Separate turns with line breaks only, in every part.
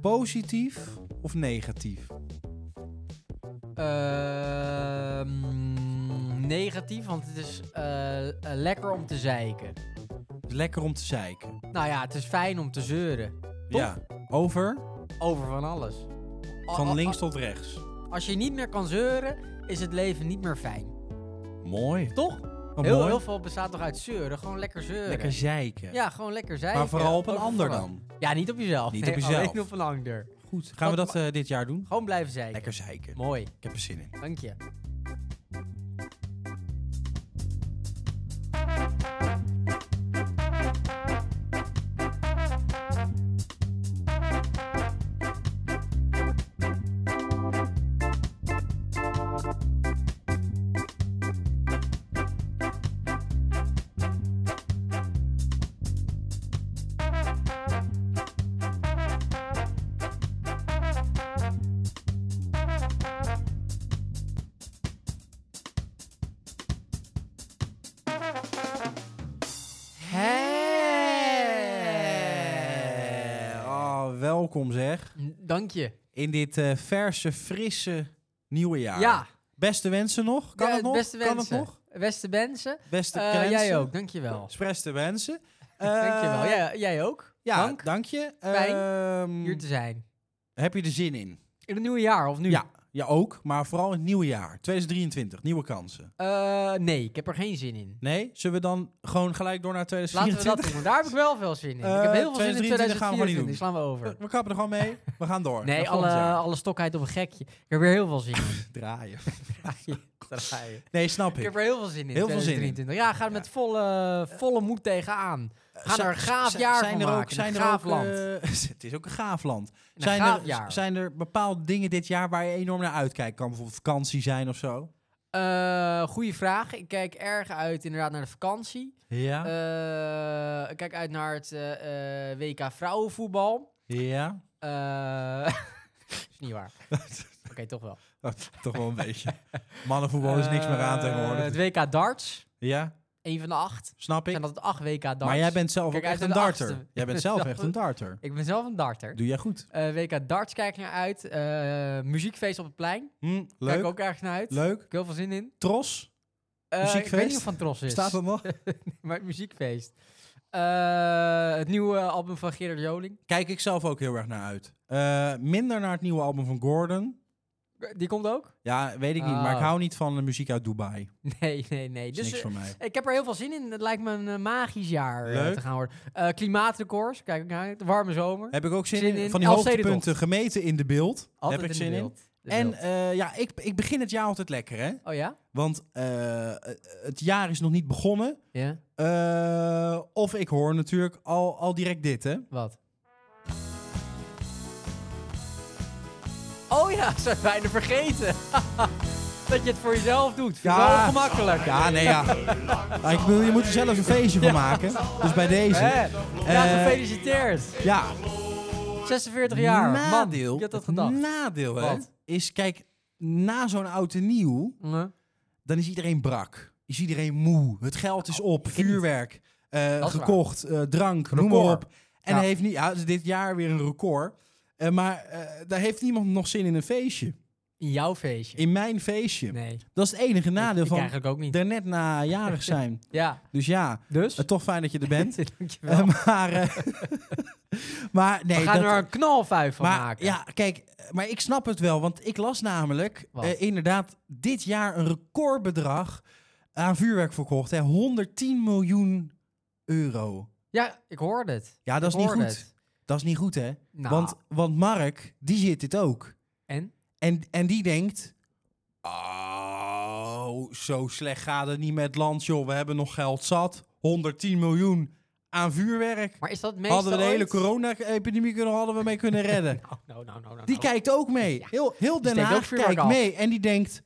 positief of negatief?
Ehm, negatief, want het is eh, eh, lekker om te zeiken.
Lekker om te zeiken.
Nou ja, het is fijn om te zeuren. Toch?
Ja, over
Over van alles. A- a-
van
a-
links tot rechts.
Als je niet meer kan zeuren, is het leven niet meer fijn.
Mooi.
Toch?
Wat
heel,
Oh, mooi.
heel veel bestaat toch uit zeuren? Gewoon lekker zeuren.
Lekker zeiken.
ja, gewoon lekker zeiken.
maar vooral op een
Over
ander
van-
dan.
Ja, niet op jezelf.
Niet
Nee,
op jezelf.
Alleen op een ander.
Goed. Gaan we dat eh, dit jaar doen?
Gewoon blijven zeiken.
Lekker zeiken.
Mooi.
Ik heb er zin in.
Dank je.
Eh, Oh, welkom zeg.
Dank je.
In dit eh, verse, frisse nieuwe jaar.
Ja.
Beste wensen nog? Kan
Ja,
het nog?
Beste
kan
wensen.
het nog?
Beste wensen.
Beste
Eh,
wensen.
jij ook, dankjewel.
Spreste wensen.
dankjewel.
Eh,
Jij, jij ook.
Ja,
Dank
dank je.
Fijn
Ehm,
hier te zijn.
Heb je er zin in?
In het nieuwe jaar, of nu?
Ja, ja, ook. Maar vooral in het nieuwe jaar. 2023, nieuwe kansen.
Eh, nee, ik heb er geen zin in.
Nee? Zullen we dan gewoon gelijk door naar
Laten we
2024?
dat doen, want daar heb ik wel veel zin in. ik heb
Eh,
heel veel zin in
2023 gaan we maar niet
2024,
doen.
die slaan we over.
we kappen er gewoon mee. We gaan door.
Nee,
Naar volgend
alle,
jaar.
alle stokheid op een gekje. Ik heb er heel veel zin in.
draaien.
Draaien.
Nee, snap
Ik
ik.
heb er heel veel zin in.
Heel veel zin in.
2023. Ja, ga er met volle, volle moed tegenaan. Ga
Zijn-
er een gaaf
zijn-
jaar
zijn
van
er ook-
maken.
zijn
een
er ook,
gaaf land.
eh, het is ook een gaaf land.
Een
Zijn
gaaf
er,
jaar.
zijn er bepaalde dingen dit jaar waar je enorm naar uitkijkt? Kan bijvoorbeeld vakantie zijn of zo?
Eh, goeie vraag. Ik kijk erg uit inderdaad naar de vakantie.
Ja.
Eh, ik kijk uit naar het eh, eh, WK vrouwenvoetbal.
ja.
Eh is niet waar. Oké, toch wel.
Oh, toch wel een beetje. Mannenvoetbal is niks meer aan
Eh,
tegenwoordig.
Het WK darts.
ja,
Een van de acht.
snap ik.
Zijn dat acht WK darts?
Maar jij bent zelf
Kijk
ook
uit
echt een
naar de
darter.
achtste.
Jij bent zelf echt een darter.
Ik ben zelf een darter.
Doe jij goed.
Eh, WK darts kijk ik naar uit. Eh, muziekfeest op het plein.
Hm,
Kijk ik
leuk.
ook erg naar uit.
Leuk.
Ik heb heel veel zin in.
Tros.
Eh,
Muziekfeest?
Ik weet niet of van Tros is.
Staat er nog?
Maar het muziekfeest. Eh, het nieuwe album van Gerard Joling.
Kijk ik zelf ook heel erg naar uit. Eh, minder naar het nieuwe album van Gordon.
Die komt ook?
Ja, weet ik niet. Maar ik
Oh.
hou niet van de muziek uit Dubai.
Nee, nee, nee.
Is
Dus
niks
eh,
voor mij.
ik heb er heel veel zin in. Het lijkt me een eh, magisch jaar eh,
Leuk.
te gaan worden. Eh klimaatrecords, kijk ik naar uit. Warme zomer.
Heb ik ook zin,
zin
in.
in
Van die
Elfstedentocht.
hoogtepunten gemeten in de beeld.
Altijd
heb ik
in
zin
de
in.
beeld. De
En
beeld.
eh, ja, ik, ik begin het jaar altijd lekker, hè?
Oh ja?
Want eh, het jaar is nog niet begonnen.
Ja?
Eh, of ik hoor natuurlijk al, al direct dit, hè?
Wat? Oh ja, zijn bijna vergeten. dat je het voor jezelf doet. Vind ik
Ja.
wel ongemakkelijk.
Ja, nee, ja. Maar ik bedoel, je moet er zelf een feestje van maken. Dus bij deze.
Hè? ja,
Eh,
gefeliciteerd.
ja.
46 jaar. Man,
Nadeel,
je had dat
het
gedacht.
nadeel hè,
Wat?
is, kijk, na zo'n oud en nieuw,
Hm?
dan is iedereen brak. Is iedereen moe. Het geld is op. Vuurwerk. eh,
Dat is
gekocht. eh, drank. Noem maar
Record.
op. En
Ja.
hij heeft niet, ja, het is dit jaar weer een record. Eh, maar eh, daar heeft niemand nog zin in een feestje.
In jouw feestje.
In mijn feestje.
Nee.
Dat is het enige nadeel
ik
van
eigenlijk ook niet.
daarnet na jarig zijn.
Ja,
Dus ja,
dus?
eh, toch fijn dat je er bent.
Dankjewel.
Eh, maar, eh, maar nee,
We gaan
dat-
er een knalfuif van
maar,
maken.
Ja, kijk, maar ik snap het wel, want ik las namelijk
Wat?
eh, inderdaad dit jaar een recordbedrag aan vuurwerk verkocht. Hè, 110 miljoen euro.
Ja, ik hoorde het.
Ja, dat is
Ik
niet
hoorde
goed.
het.
Dat is niet goed, hè?
Nou,
Want, want Mark, die zit dit ook.
en?
En, en die denkt, oh, zo slecht gaat het niet met het land, joh. We hebben nog geld zat. 110 miljoen aan vuurwerk.
Maar is dat meestal
Hadden we de hele
ooit?
corona-epidemie kunnen, hadden we mee kunnen redden.
Nou, nou, nou, nou, nou,
Die
nou.
kijkt ook mee.
Ja.
Heel, heel Den
steekt ook
Haag
vuurwerk
kijkt
af.
mee. En die denkt,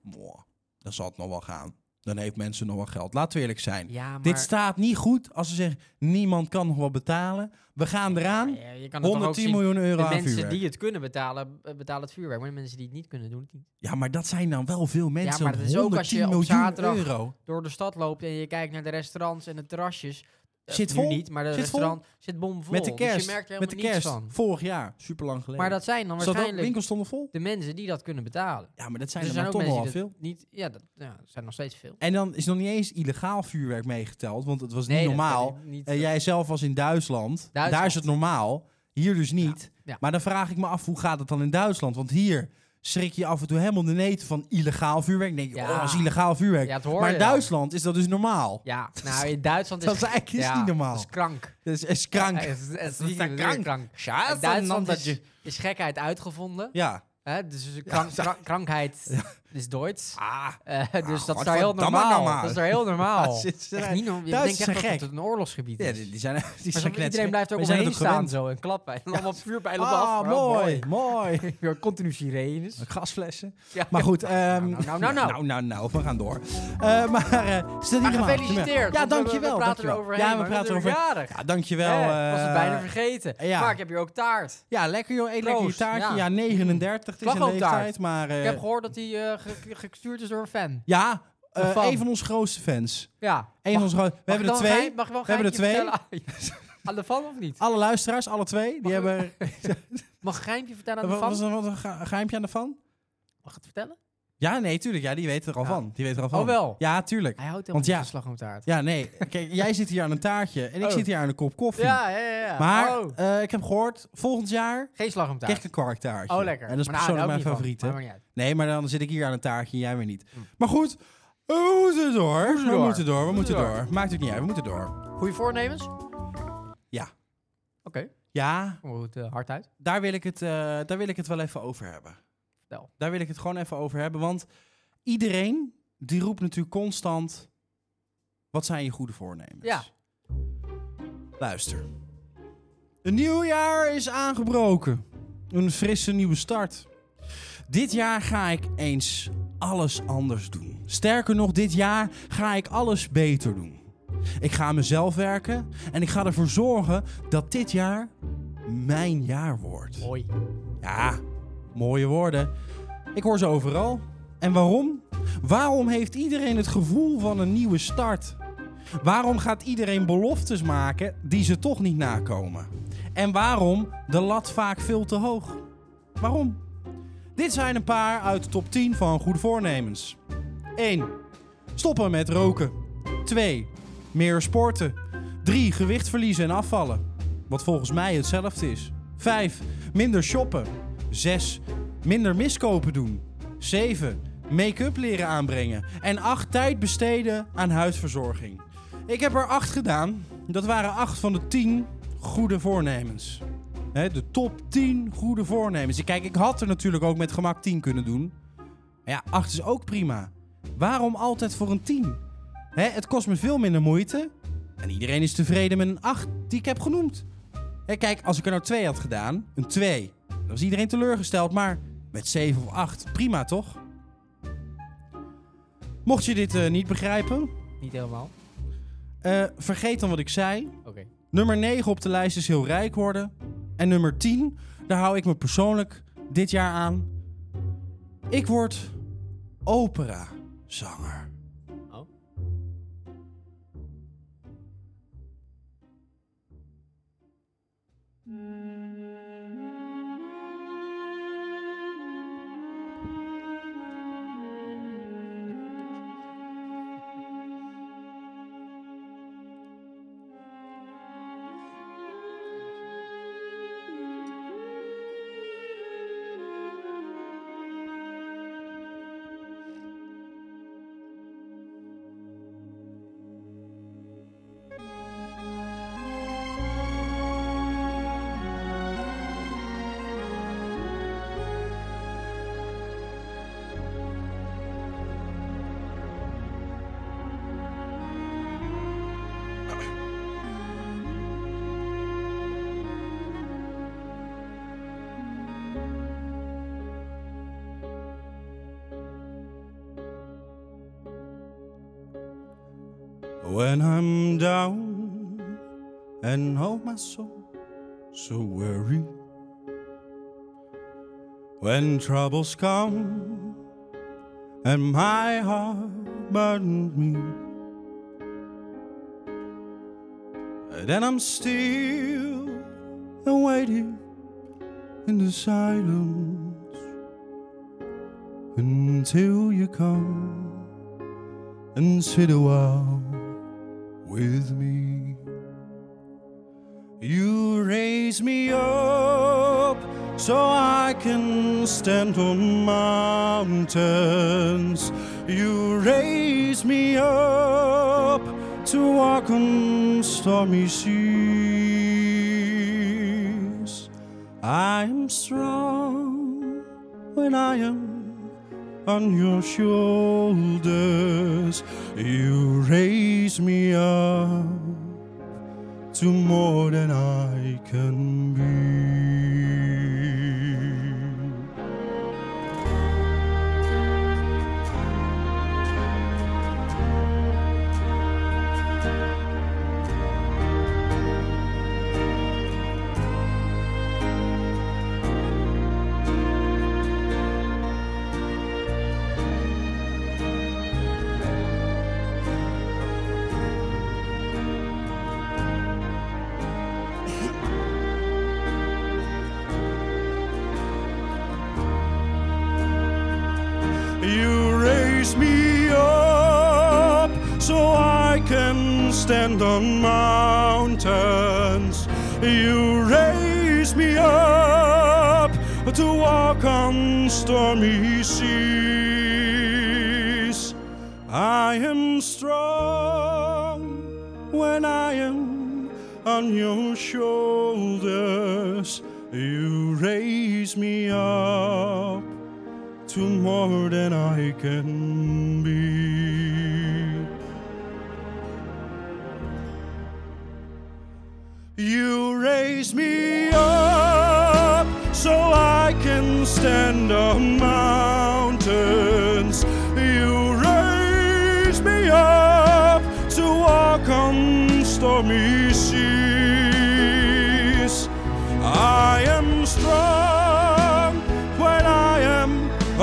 "Mwah, dan zal het nog wel gaan. Dan heeft mensen nog wel geld. Laten we eerlijk zijn.
Ja, maar...
Dit staat niet goed als ze zeggen, niemand kan nog wel betalen. We gaan eraan.
Ja, je kan het toch ook
110
zien.
miljoen euro
De
aan
mensen
vuurwerk.
die het kunnen betalen, eh, betalen het vuurwerk. Maar de mensen die het niet kunnen, doen het niet.
Ja, maar dat zijn dan wel veel mensen.
maar dat is ook als je
110
op
miljoen
zaterdag-
euro.
Door de stad loopt en je kijkt naar de restaurants en de terrasjes. Eh,
Zit
nu
vol.
niet, maar de
Zit
restaurant zit bomvol.
Met de kerst.
Dus je merkt er
met de
helemaal
kerst.
niets van.
Vorig jaar. Super lang geleden.
Maar dat zijn dan
Is dat ook-
waarschijnlijk
winkels stonden vol.
de mensen die dat kunnen betalen.
Ja, maar dat zijn
Dus
er, maar toch wel
die dat
veel.
niet... Ja, dat ja, er zijn nog steeds veel.
En dan is nog niet eens illegaal vuurwerk meegeteld, want het was niet
dat kan
normaal.
ik niet-
En jij zelf was in Duitsland.
Duitsland.
Daar is het normaal. Hier dus niet.
ja.
Maar dan vraag ik me af, hoe gaat het dan in Duitsland? Want hier schrik je af en toe helemaal de neten van illegaal vuurwerk. Dan denk je,
Ja.
oh, dat is illegaal vuurwerk.
Ja, dat hoor
maar
je
in
dan.
Duitsland is dat dus normaal.
Ja, nou in Duitsland is...
Dat is eigenlijk is
ja,
niet normaal.
Dat is krank.
Dat is, is krank.
Ja, het is- het is
Dat is
niet
dan
natuurlijk
krank. Ah,
krank.
Ja,
In Duitsland is, is gekheid uitgevonden.
Ja.
Hè? Dus is krank, krank- krankheid is Duits.
Ah,
Eh, dus dat is
wat
daar heel
verdamme
normaal.
normaal.
Dat is daar heel normaal.
Ja, ze- ze
echt
zijn-
niet normaal. Je
Duitsers
denkt echt
zijn
dat
gek.
het een oorlogsgebied
ja,
is.
die, die zijn, die
Maar
zijn
zo- iedereen
knetsen.
blijft ook
We
om
zijn
heen
het ook
staan
gewend.
zo en klappen. En allemaal vuurpijlen op af. Oh,
Ah, mooi, mooi.
Weer continu sirenes.
Gasflessen.
Ja.
Maar goed, ehm,
nou, nou, nou, nou.
nou, nou, nou, we gaan door. Eh, maar eh, is dat niet
Maar
normaal?
Ah, gefeliciteerd.
Ja,
want we- we-
dankjewel.
We praten
dankjewel.
er overheen.
Ja, we
maar
praten
natuurlijk
over.
Jarig.
Ja, dankjewel.
Hè, was het
eh,
bijna vergeten.
ja.
Maar ik heb hier ook taart.
Ja, lekker joh. Eet lekker je
Proost,
taartje. Ja,
ja.
39. Het is een
Slagroomtaart.
leeftijd, maar... eh,
Ik heb gehoord dat hij eh, ge- ge- gestuurd is door een fan.
ja, eh,
Een fan.
een van onze grootste fans.
Ja.
Een van onze gro- We hebben er twee.
mag ik wel een
We hebben er Ah.
geintje vertellen Ah, aan- Aan de fan of niet?
Alle luisteraars, alle twee. Die
Mag-
hebben... er-
Mag ik een geintje vertellen aan de
Wat was
fan?
er wat een ge- geheimje aan de fan?
Mag ik het vertellen?
Ja, nee, tuurlijk. Ja, die weten er al
Ja.
van. Die weten er al van.
Oh, wel.
Ja, tuurlijk.
Hij houdt
Want
helemaal
ja.
niet van slagroomtaart.
Ja, nee. Kijk, jij zit hier aan een taartje en ik
Oh.
zit hier aan een kop koffie.
Ja, ja, ja. ja.
Maar
Oh.
eh, ik heb gehoord, volgend jaar
Geen
krijg
slagroomtaart.
ik een kwarktaartje.
Oh, lekker.
En dat is
Maar daar hou
persoonlijk
ik
mijn
niet van.
favoriet, hè?
Maar maakt niet uit.
Nee, maar dan zit ik hier aan een taartje en jij weer niet.
Hm.
Maar goed, we moeten door. We
door.
moeten door, we
We
moeten
moeten
door. Maakt het niet uit, we moeten door.
Goeie voornemens?
Ja.
Oké, okay.
Ja,
kom er goed eh, hard uit.
daar wil, ik het, eh, daar wil ik het wel even over hebben.
Vertel.
Daar wil ik het gewoon even over hebben, want iedereen die roept natuurlijk constant... Wat zijn je goede voornemens?
Ja.
Luister. Een nieuw jaar is aangebroken. Een frisse nieuwe start. Dit jaar ga ik eens alles anders doen. Sterker nog, dit jaar ga ik alles beter doen. Ik ga aan mezelf werken en ik ga ervoor zorgen dat dit jaar mijn jaar wordt.
Mooi.
Ja, mooie woorden. Ik hoor ze overal. En waarom? Waarom heeft iedereen het gevoel van een nieuwe start? Waarom gaat iedereen beloftes maken die ze toch niet nakomen? En waarom de lat vaak veel te hoog? Waarom? Dit zijn een paar uit de top 10 van goede voornemens. 1. Stoppen met roken. 2. Meer sporten. 3. Gewicht verliezen en afvallen. Wat volgens mij hetzelfde is. 5. Minder shoppen. 6. Minder miskopen doen. 7. Make-up leren aanbrengen. En 8. Tijd besteden aan huisverzorging. Ik heb er 8 gedaan. Dat waren 8 van de 10 goede voornemens. Hè, de top 10 goede voornemens. Ik- Kijk, ik had er natuurlijk ook met gemak 10 kunnen doen. Maar ja, 8 is ook prima. Waarom altijd voor een 10? Hè, het kost me veel minder moeite. En iedereen is tevreden met een 8 die ik heb genoemd. Hè, kijk, als ik er nou 2 had gedaan, een 2, dan was iedereen teleurgesteld. Maar met 7 of 8, prima toch? Mocht je dit eh, niet begrijpen,
Niet helemaal.
eh, vergeet dan wat ik zei.
Oké.
Nummer 9 op de lijst is heel rijk worden. En nummer 10, daar hou ik me persoonlijk dit jaar aan. Ik word operazanger.
Oh.
When I'm down and hold my soul so weary. When troubles come and my heart burdens me. Then I'm still waiting in the silence until you come and sit a while with me. You raise me up so I can stand on mountains. You raise me up to walk on stormy seas. I am strong when I am on your shoulders. You raise me up to more than I can be. You raise me up so I can stand on mountains. You raise me up to walk on stormy seas. I am strong when I am on your shoulders. You raise me up to more than I can be. You raise me up so I can stand on mountains. You raise me up to walk on stormy seas. I am strong when I am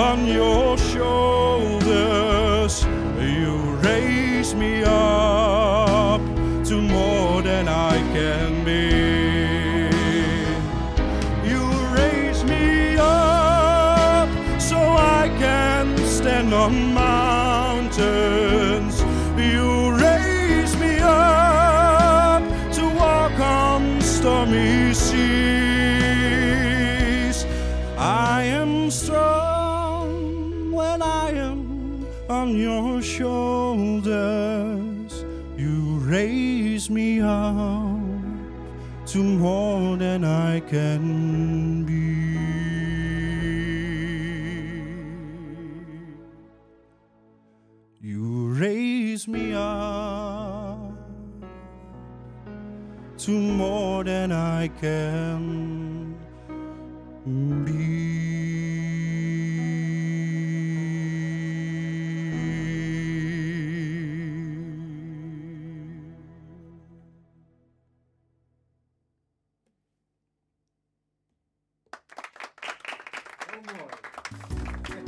on your shoulders. You raise me up to more than I can be. You raise me up so I can stand on mountains. You raise me up to walk on stormy seas. I am strong when I am on your shoulders. You raise me up to more than I can be. You raise me up to more than I can be.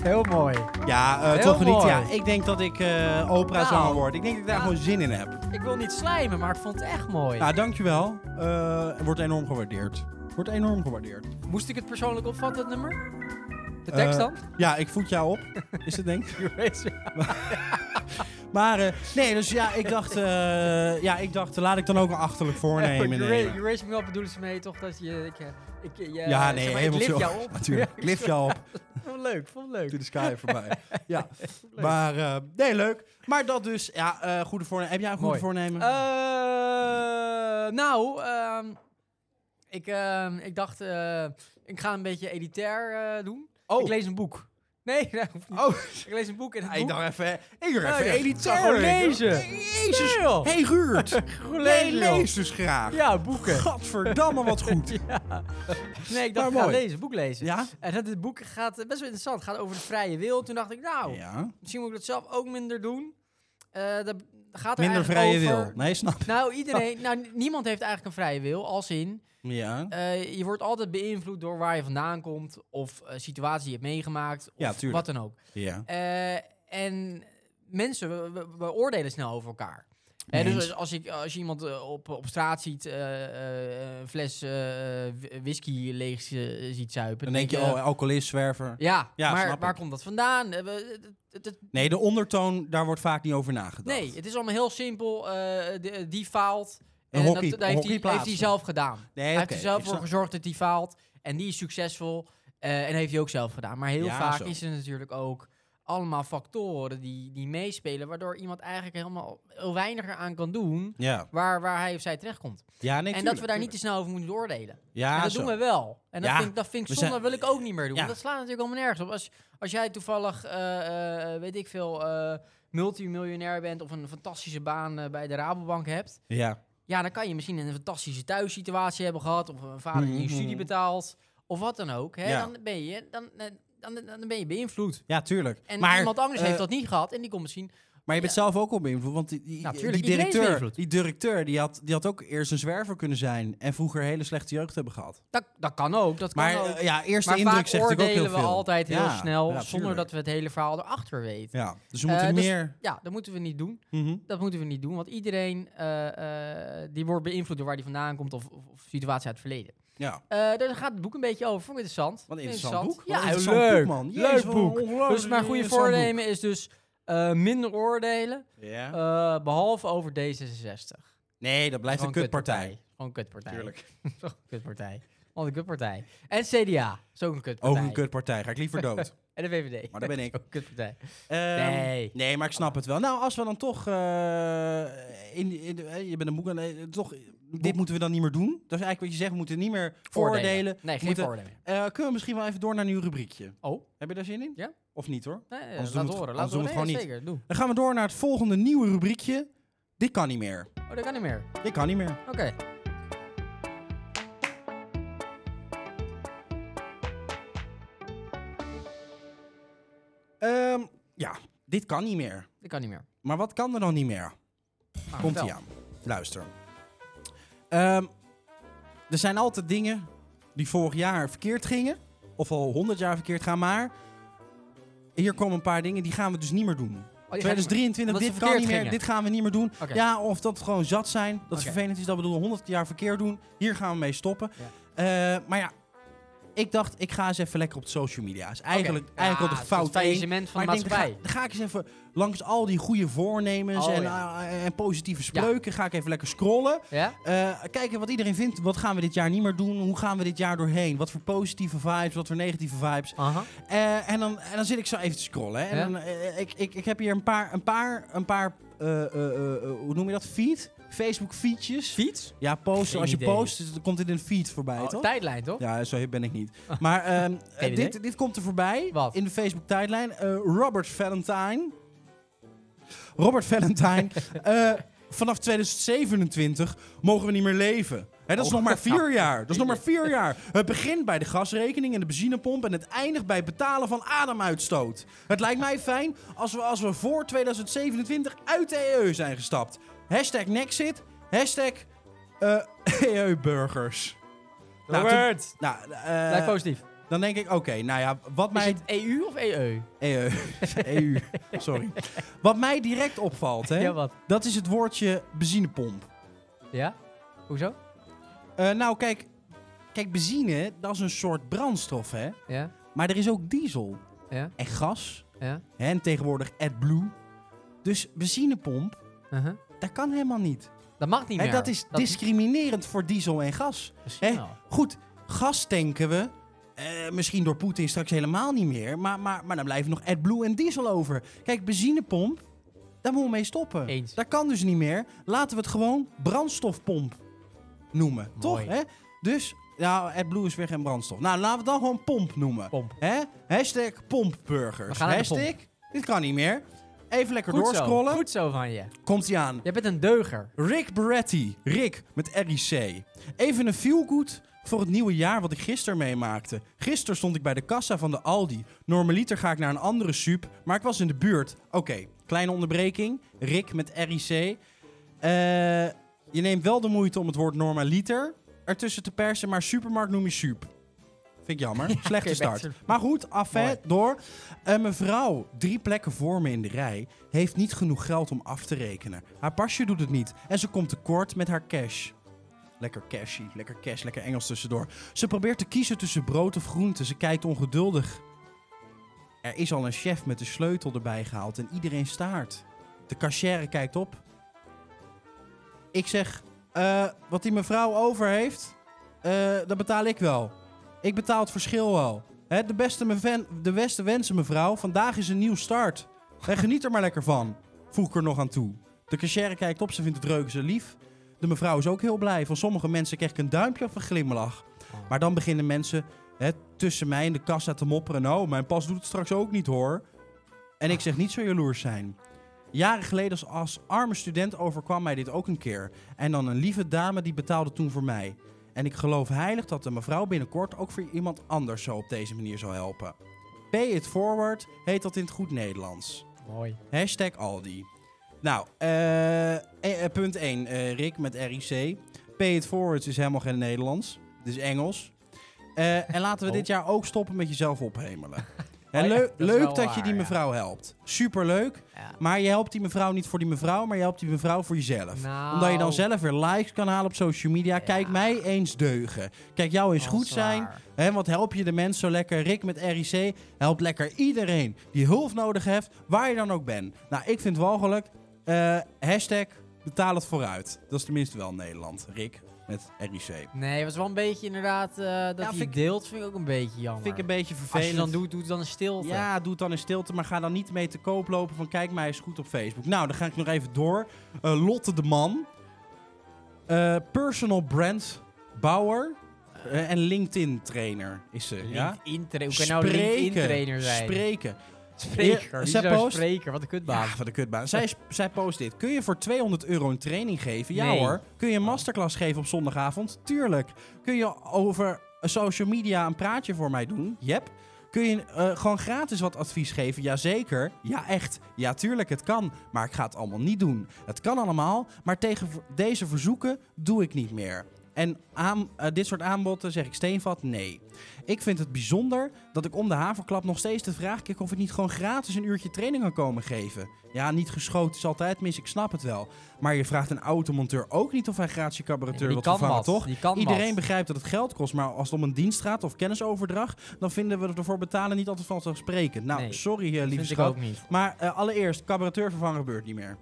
Heel mooi.
Ja, eh,
Heel
toch niet.
mooi.
Ja, ik denk dat ik eh opera
Nou,
word. Ik denk dat ik daar
ja.
gewoon zin in heb.
Ik wil niet slijmen, maar ik vond het echt mooi.
Nou, dankjewel. Eh wordt enorm gewaardeerd. Wordt enorm gewaardeerd.
Moest ik het persoonlijk opvatten, dat nummer? De tekst
Eh,
dan?
Ja, ik voed jou op. Is het denk ik.
You raise me-
Oh, Maar eh, nee, dus ja, ik dacht, eh, ja, ik dacht, laat ik dan ook een achterlijk voornemen
you, ra-
nemen.
you raise me up bedoelen ze mee toch dat je... Ik, eh, ik, eh, je-
Ja,
zeg
nee,
maar,
helemaal
Ik lift
chill.
jou op.
Natuurlijk, ik lift jou op.
Vond het leuk, vond het leuk.
To the sky voorbij. Ja, maar eh, nee, leuk. Maar dat dus, ja, eh, goede voornemen. Heb jij een goede
Mooi.
voornemen?
Eh, nou, ehm, ik, ehm, ik dacht, eh, ik ga een beetje elitair eh, doen.
Oh.
Ik lees een boek. Nee, dat hoeft niet.
oh,
Ik lees een boek en het
ik
boek...
dacht even, ik dacht
Nou,
even
ja,
elitair.
ga gewoon
ik dacht,
lezen.
Jezus,
Nee, joh.
hey Ruurt.
Goed
Jij
lezen, joh.
leest dus graag.
Ja, boeken.
Gadverdamme, wat goed.
Nee, ik
Maar
dacht, ik ga
mooi.
lezen, boek lezen.
Ja?
En dat het boek gaat eh, best wel interessant. Het gaat over de vrije wil. Toen dacht ik, nou,
Ja.
misschien moet ik dat zelf ook minder doen. Eh, dat gaat er
Minder
eigenlijk
vrije
over-
wil. Nee, snap.
Nou, iedereen, nou, n- niemand heeft eigenlijk een vrije wil. Als in,
Ja.
eh, je wordt altijd beïnvloed door waar je vandaan komt. Of eh, situatie die je hebt meegemaakt. Of
Ja, tuurlijk.
wat dan ook.
Ja.
Eh, en mensen, we, we- we oordelen snel over elkaar. Hè,
Mee
dus
eens.
als, ik, als je iemand eh, op, op straat ziet, eh, eh, een fles eh, w- whisky leeg eh, ziet zuipen.
Dan
eh,
denk je, oh, alcoholist, zwerver.
ja,
Ja, snap
maar
ik.
waar komt dat vandaan? Eh, we- het- het- het-
Nee, de ondertoon, daar wordt vaak niet over nagedacht.
nee, het is allemaal heel simpel. eh, de- die faalt.
Een
en
hockey-
dat,
een
daar heeft, hij,
hockeyplaats.
heeft hij zelf gedaan.
Nee,
hij
oké,
heeft er zelf
ik
voor
snap-
gezorgd dat die faalt. En die is succesvol. eh, en heeft hij ook zelf gedaan. Maar heel
Ja,
vaak
zo.
is er natuurlijk ook allemaal factoren die, die meespelen. Waardoor iemand eigenlijk helemaal heel weinig eraan kan doen.
Ja,
Waar, waar hij of zij terechtkomt.
ja nee,
en dat we daar niet te snel over moeten oordelen.
Ja,
en dat
zo.
doen we wel. En dat
Ja,
vind ik, dat vind
we
ik
zijn-
zonde, wil ik ook niet meer doen.
Ja.
Dat slaat natuurlijk allemaal nergens op. Als, als jij toevallig, eh, eh, weet ik veel, eh, multimiljonair bent of een fantastische baan eh, bij de Rabobank hebt.
Ja,
Ja, dan kan je misschien een fantastische thuissituatie hebben gehad. Of een vader die je
Mhm.
studie betaalt. Of wat dan ook. Hè?
Ja.
Dan, ben je, dan, eh, dan, dan, dan ben je beïnvloed.
ja tuurlijk.
En
maar,
iemand anders
eh,
heeft dat niet gehad. En die komt misschien...
Maar je bent zelf ook al beïnvloed. Want die, die,
Nou, tuurlijk,
die
iedereen is
directeur,
beïnvloed.
die, directeur die, had, die had ook eerst een zwerver kunnen zijn. En vroeger hele slechte jeugd hebben gehad.
Dat, dat kan ook. Dat kan
Maar
ook.
eh, ja, eerste
maar
indruk
vaak
zegt natuurlijk ook
oordelen
heel
we
veel.
altijd heel
Ja,
snel.
ja,
zonder
tuurlijk.
dat we het hele verhaal erachter weten.
Ja, dus we
Eh,
moeten
dus-
meer...
Ja, dat moeten we niet doen.
Mhm.
dat moeten we niet doen. Want iedereen eh, eh, die wordt beïnvloed door waar die vandaan komt of, of, of situatie uit het verleden.
Ja,
Eh, daar gaat het boek een beetje over. Vond ik interessant.
wat een interessant, boek. Wat
Ja,
een
heel
interessant
leuk.
boek, man. Jezus,
leuk
wat een
boek.
ongelooflijk
Dus mijn goede
interessant boek.
voornemen is dus eh, minder oordelen.
Ja.
eh, behalve over D66.
nee, dat blijft een
Gewoon
kutpartij.
Gewoon een kutpartij. Gewoon een kutpartij. Want een kutpartij. En CDA. Is ook een kutpartij.
Ook een kutpartij. Ga ik liever dood.
En de VVD.
Maar daar ben ik.
Ook een kutpartij.
Ehm,
Nee.
Nee, maar ik snap het wel. Nou, als we dan toch. eh, in, in de- eh, je bent een boek aan. eh, toch, dit moeten we dan niet meer doen. Dat is eigenlijk wat je zegt. We moeten niet meer
Voordelen.
oordelen.
Nee, geen
Moeten-
voordelen.
Eh, kunnen we misschien wel even door naar een nieuw rubriekje?
Oh.
Heb je daar zin in?
Ja.
Of niet hoor?
Nee, eh,
doen we
laat
het-
horen.
anders doen
Laat
we
horen.
het gewoon
Nee,
niet.
Zeker, doe.
Dan gaan we door naar het volgende nieuwe rubriekje. Dit kan niet meer.
Oh, dat kan niet meer.
Dit kan niet meer.
Oké.
Ehm, ja, dit kan niet meer.
Dat kan niet meer.
Maar wat kan er dan niet meer?
Ah,
Komt
vertel.
ie aan. Luister. Ehm, er zijn altijd dingen die vorig jaar verkeerd gingen. Of al honderd jaar verkeerd gaan. Maar hier komen een paar dingen. Die gaan we dus niet meer doen.
Oh, die gaan niet meer.
2023,
Omdat ze
dit kan niet
verkeerd
meer.
gingen.
Dit gaan we niet meer doen.
Oké.
Ja, of dat we gewoon zat zijn. Dat is
Oké.
vervelend is dat we bedoel 100 jaar verkeerd doen. Hier gaan we mee stoppen. Eh, maar ja, ik dacht, ik ga eens even lekker op de social media. is eigenlijk,
Oké.
eigenlijk
Ja,
al de
het is
fout
Het
één.
faillissement van
Maar
de
ik denk, dan
maatschappij.
ga, dan ga ik eens even langs al die goede voornemens
Oh,
en,
ja.
eh, en positieve spreuken. Ga ik even lekker scrollen.
Ja?
Eh, kijken wat iedereen vindt. Wat gaan we dit jaar niet meer doen? Hoe gaan we dit jaar doorheen? Wat voor positieve vibes? Wat voor negatieve vibes?
Aha.
Eh, en, dan, en dan zit ik zo even te scrollen. Hè? En
Ja.
dan, eh, ik, ik, ik heb hier een paar, een paar, een paar eh, eh, eh, eh, hoe noem je dat? Feed? Facebook feedjes.
Fiets?
Ja, posten.
Geen
Als je
idee.
post, dan komt dit in een feed voorbij,
Oh,
toch?
tijdlijn, toch?
Ja, zo hip ben ik niet. Maar ehm, eh,
idee.
dit, dit komt er voorbij
Wat?
in de Facebook-tijdlijn. Eh, Robert Valentine. Robert Valentine. eh, vanaf 2027 mogen we niet meer leven. Hè, dat is
Oh.
nog maar vier jaar. Dat is nog maar vier jaar. Het begint bij de gasrekening en de benzinepomp en het eindigt bij het betalen van ademuitstoot. Het lijkt mij fijn als we, als we voor 2027 uit de EU zijn gestapt. Hashtag Nexit. Hashtag eh, EU-burgers. Nou, toen-
Robert!
nou, eh,
Blijf positief.
dan denk ik, oké, nou ja, wat
Is
mij... Eh,
het EU of E EE?
EU, EU, eh, sorry. Wat mij direct opvalt, hè,
Ja, wat?
dat is het woordje benzinepomp.
Ja? Hoezo?
Eh, nou, kijk, kijk, benzine, dat is een soort brandstof, hè.
Ja?
Maar er is ook diesel
Ja?
en gas
Ja?
hè, en tegenwoordig AdBlue. Dus benzinepomp,
Uh-huh.
dat kan helemaal niet.
Dat mag niet
Hè,
meer.
dat is discriminerend voor diesel en gas.
Misschien
Hè?
wel.
Goed, gas tanken we. eh, misschien door Poetin straks helemaal niet meer. Maar, maar, maar dan blijven nog AdBlue en diesel over. Kijk, benzinepomp, daar moeten we mee stoppen.
Eens.
Dat kan dus niet meer. Laten we het gewoon brandstofpomp noemen. Toch? Hè? Dus, nou, AdBlue is weer geen brandstof. Nou, laten we het dan gewoon pomp noemen.
Pomp.
Hè? Hashtag pompburgers.
We gaan naar de pomp.
Hashtag, dit kan niet meer. Even lekker
Goed zo.
doorscrollen.
Goed zo van je.
Komt-ie aan.
Jij bent een deuger.
Rick Beretti. Rick met RIC. Even een feelgood voor het nieuwe jaar wat ik gisteren meemaakte. Gisteren stond ik bij de kassa van de Aldi. Normaliter ga ik naar een andere sup, maar ik was in de buurt. Oké, kleine onderbreking. Rick met RIC. Eh, je neemt wel de moeite om het woord normaliter ertussen te persen, maar supermarkt noem je sup. Vind ik jammer. Slechte
oké,
start.
back to-
Maar goed, afet
Mooi.
door. Een mevrouw, drie plekken voor me in de rij, heeft niet genoeg geld om af te rekenen. Haar pasje doet het niet en ze komt tekort met haar cash. Lekker cashy, lekker cash, lekker Engels tussendoor. Ze probeert te kiezen tussen brood of groente. Ze kijkt ongeduldig. Er is al een chef met de sleutel erbij gehaald en iedereen staart. De cachère kijkt op. Ik zeg, eh, wat die mevrouw over heeft, eh, dat betaal ik wel. Ik betaal het verschil wel. Hè, de, beste meven- de beste wensen, mevrouw. Vandaag is een nieuw start. Hè, geniet er maar lekker van. Voeg ik er nog aan toe. De cachère kijkt op, ze vindt het reuze lief. De mevrouw is ook heel blij. Van sommige mensen krijg ik een duimpje of een glimlach. Maar dan beginnen mensen hè, tussen mij en de kassa te mopperen. Nou, mijn pas doet het straks ook niet hoor. En ik zeg niet zo jaloers zijn. Jaren geleden als, als arme student overkwam mij dit ook een keer. En dan een lieve dame die betaalde toen voor mij. En ik geloof heilig dat de mevrouw binnenkort ook voor iemand anders zo op deze manier zal helpen. Pay it forward heet dat in het goed Nederlands.
Mooi.
Hashtag Aldi. Nou, eh, eh, eh, punt 1, Rick met RIC. Pay it forward is helemaal geen Nederlands. Het is Engels. Eh, en laten we
Oh.
dit jaar ook stoppen met jezelf ophemelen. Hè,
ja,
leu-
dat is
leuk
wel
dat je
waar,
die
ja.
mevrouw helpt. Superleuk.
Ja.
Maar je helpt die mevrouw niet voor die mevrouw, maar je helpt die mevrouw voor jezelf.
Nou.
Omdat je dan zelf weer likes kan halen op social media. Kijk mij eens deugen. Kijk jou eens
Dat
goed
is
zijn.
waar.
Hè, want help je de mens zo lekker. Rick met RIC helpt lekker iedereen die hulp nodig heeft, waar je dan ook bent. Nou, ik vind het walgelijk. Eh, hashtag betaal het vooruit. Dat is tenminste wel Nederland. Rick met RIC.
Nee, het was wel een beetje inderdaad eh, dat hij
vind ik-
deelt. Vind ik ook een beetje jammer.
Vind ik een beetje
Als
vervelend.
je dan doet, doet dan een stilte.
Ja, doe het dan in stilte, maar ga dan niet mee te koop lopen van kijk mij eens goed op Facebook. Nou, dan ga ik nog even door. Eh, Lotte de Man, Eh, personal brand bouwer eh, en LinkedIn trainer is ze. Ja?
LinkedIn tra- Hoe kan je nou LinkedIn trainer zijn?
Spreken.
Spreker. Wie
Zij
zou
post-
spreker? Wat een kutbaan.
Ja, wat een kutbaan. Zij, zij post dit. Kun je voor 200 euro een training geven? Ja
Nee.
hoor. Kun je een masterclass geven op zondagavond? Tuurlijk. Kun je over social media een praatje voor mij doen? Yep. Kun je eh, gewoon gratis wat advies geven? Jazeker. Ja, echt. Ja, tuurlijk, het kan. Maar ik ga het allemaal niet doen. Het kan allemaal, maar tegen v- deze verzoeken doe ik niet meer. En aan, eh, dit soort aanboden zeg ik steenvat nee. Ik vind het bijzonder dat ik om de haverklap nog steeds de vraag kijk of ik niet gewoon gratis een uurtje training kan komen geven. Ja, niet geschoten is altijd mis, ik snap het wel. Maar je vraagt een automonteur ook niet of hij gratis je carburateur
Die
wil
kan
vervangen,
wat.
toch?
Die kan
Iedereen
wat.
begrijpt dat het geld kost, maar als het om een dienst gaat of kennisoverdrag, dan vinden we ervoor betalen niet altijd vanzelfsprekend. Nou,
Nee,
sorry eh, lieve
Vind ik
schat.
ook niet.
Maar eh, allereerst, carburateur vervangen gebeurt niet meer.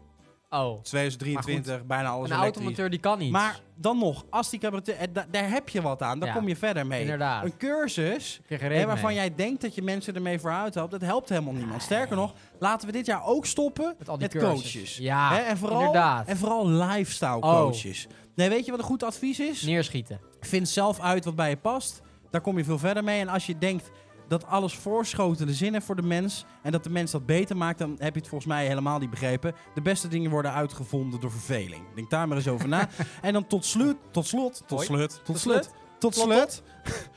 Oh.
2023, bijna alles
Een
elektrisch.
automonteur die kan iets.
Maar dan nog, als die carburateur, eh, da- daar heb je wat aan, daar
Ja,
kom je verder mee.
inderdaad.
Een cursus
Ik kreeg er
Hè,
reet
waarvan
mee.
jij denkt dat je mensen ermee vooruit helpt, dat helpt helemaal niemand. Sterker nog, laten we dit jaar ook stoppen
Met
met,
al die cursussen.
coaches.
Ja,
Hè, en vooral,
inderdaad. Oh.
En vooral lifestyle coaches. Nee, weet je wat een goed advies is?
Neerschieten.
Vind zelf uit wat bij je past. Daar kom je veel verder mee. En als je denkt dat alles voorschotelde zin heeft voor de mens en dat de mens dat beter maakt, dan heb je het volgens mij helemaal niet begrepen. De beste dingen worden uitgevonden door verveling. Denk daar maar eens over na. En dan tot slut, tot slot, tot
Hoi.
slut, tot
Tot
slut,
slut.
tot
Slot
slut.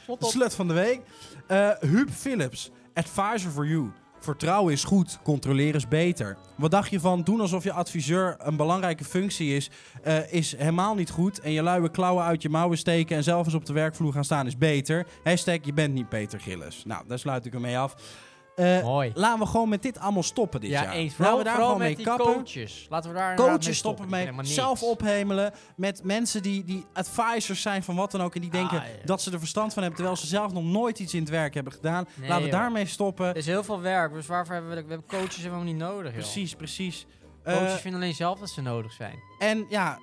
Slot
De
op.
slut van de week. Eh Huub Philips, advisor for you. Vertrouwen is goed, controleren is beter. Wat dacht je van doen alsof je adviseur een belangrijke functie is, eh, is helemaal niet goed. En je luie klauwen uit je mouwen steken en zelf eens op de werkvloer gaan staan is beter. Hashtag je bent niet Peter Gillis. Nou, daar sluit ik hem mee af. Eh,
Mooi.
laten we gewoon met dit allemaal stoppen dit
Ja,
jaar.
eens.
Laten
Vooral,
we daar
vooral
gewoon mee
met die
kappen.
coaches. Laten we daar inderdaad mee
Coaches stoppen
Die
mee,
vinden helemaal niks.
zelf ophemelen met mensen die, die advisors zijn van wat dan ook. En die
Ah,
denken
ja.
dat ze er verstand van hebben, terwijl ze zelf nog nooit iets in het werk hebben gedaan.
Nee,
Laten we
joh.
daarmee stoppen.
Er is heel veel werk, dus waarvoor hebben we, we hebben coaches helemaal niet nodig, joh.
Precies, precies. Eh,
Coaches vinden alleen zelf dat ze nodig zijn.
en ja,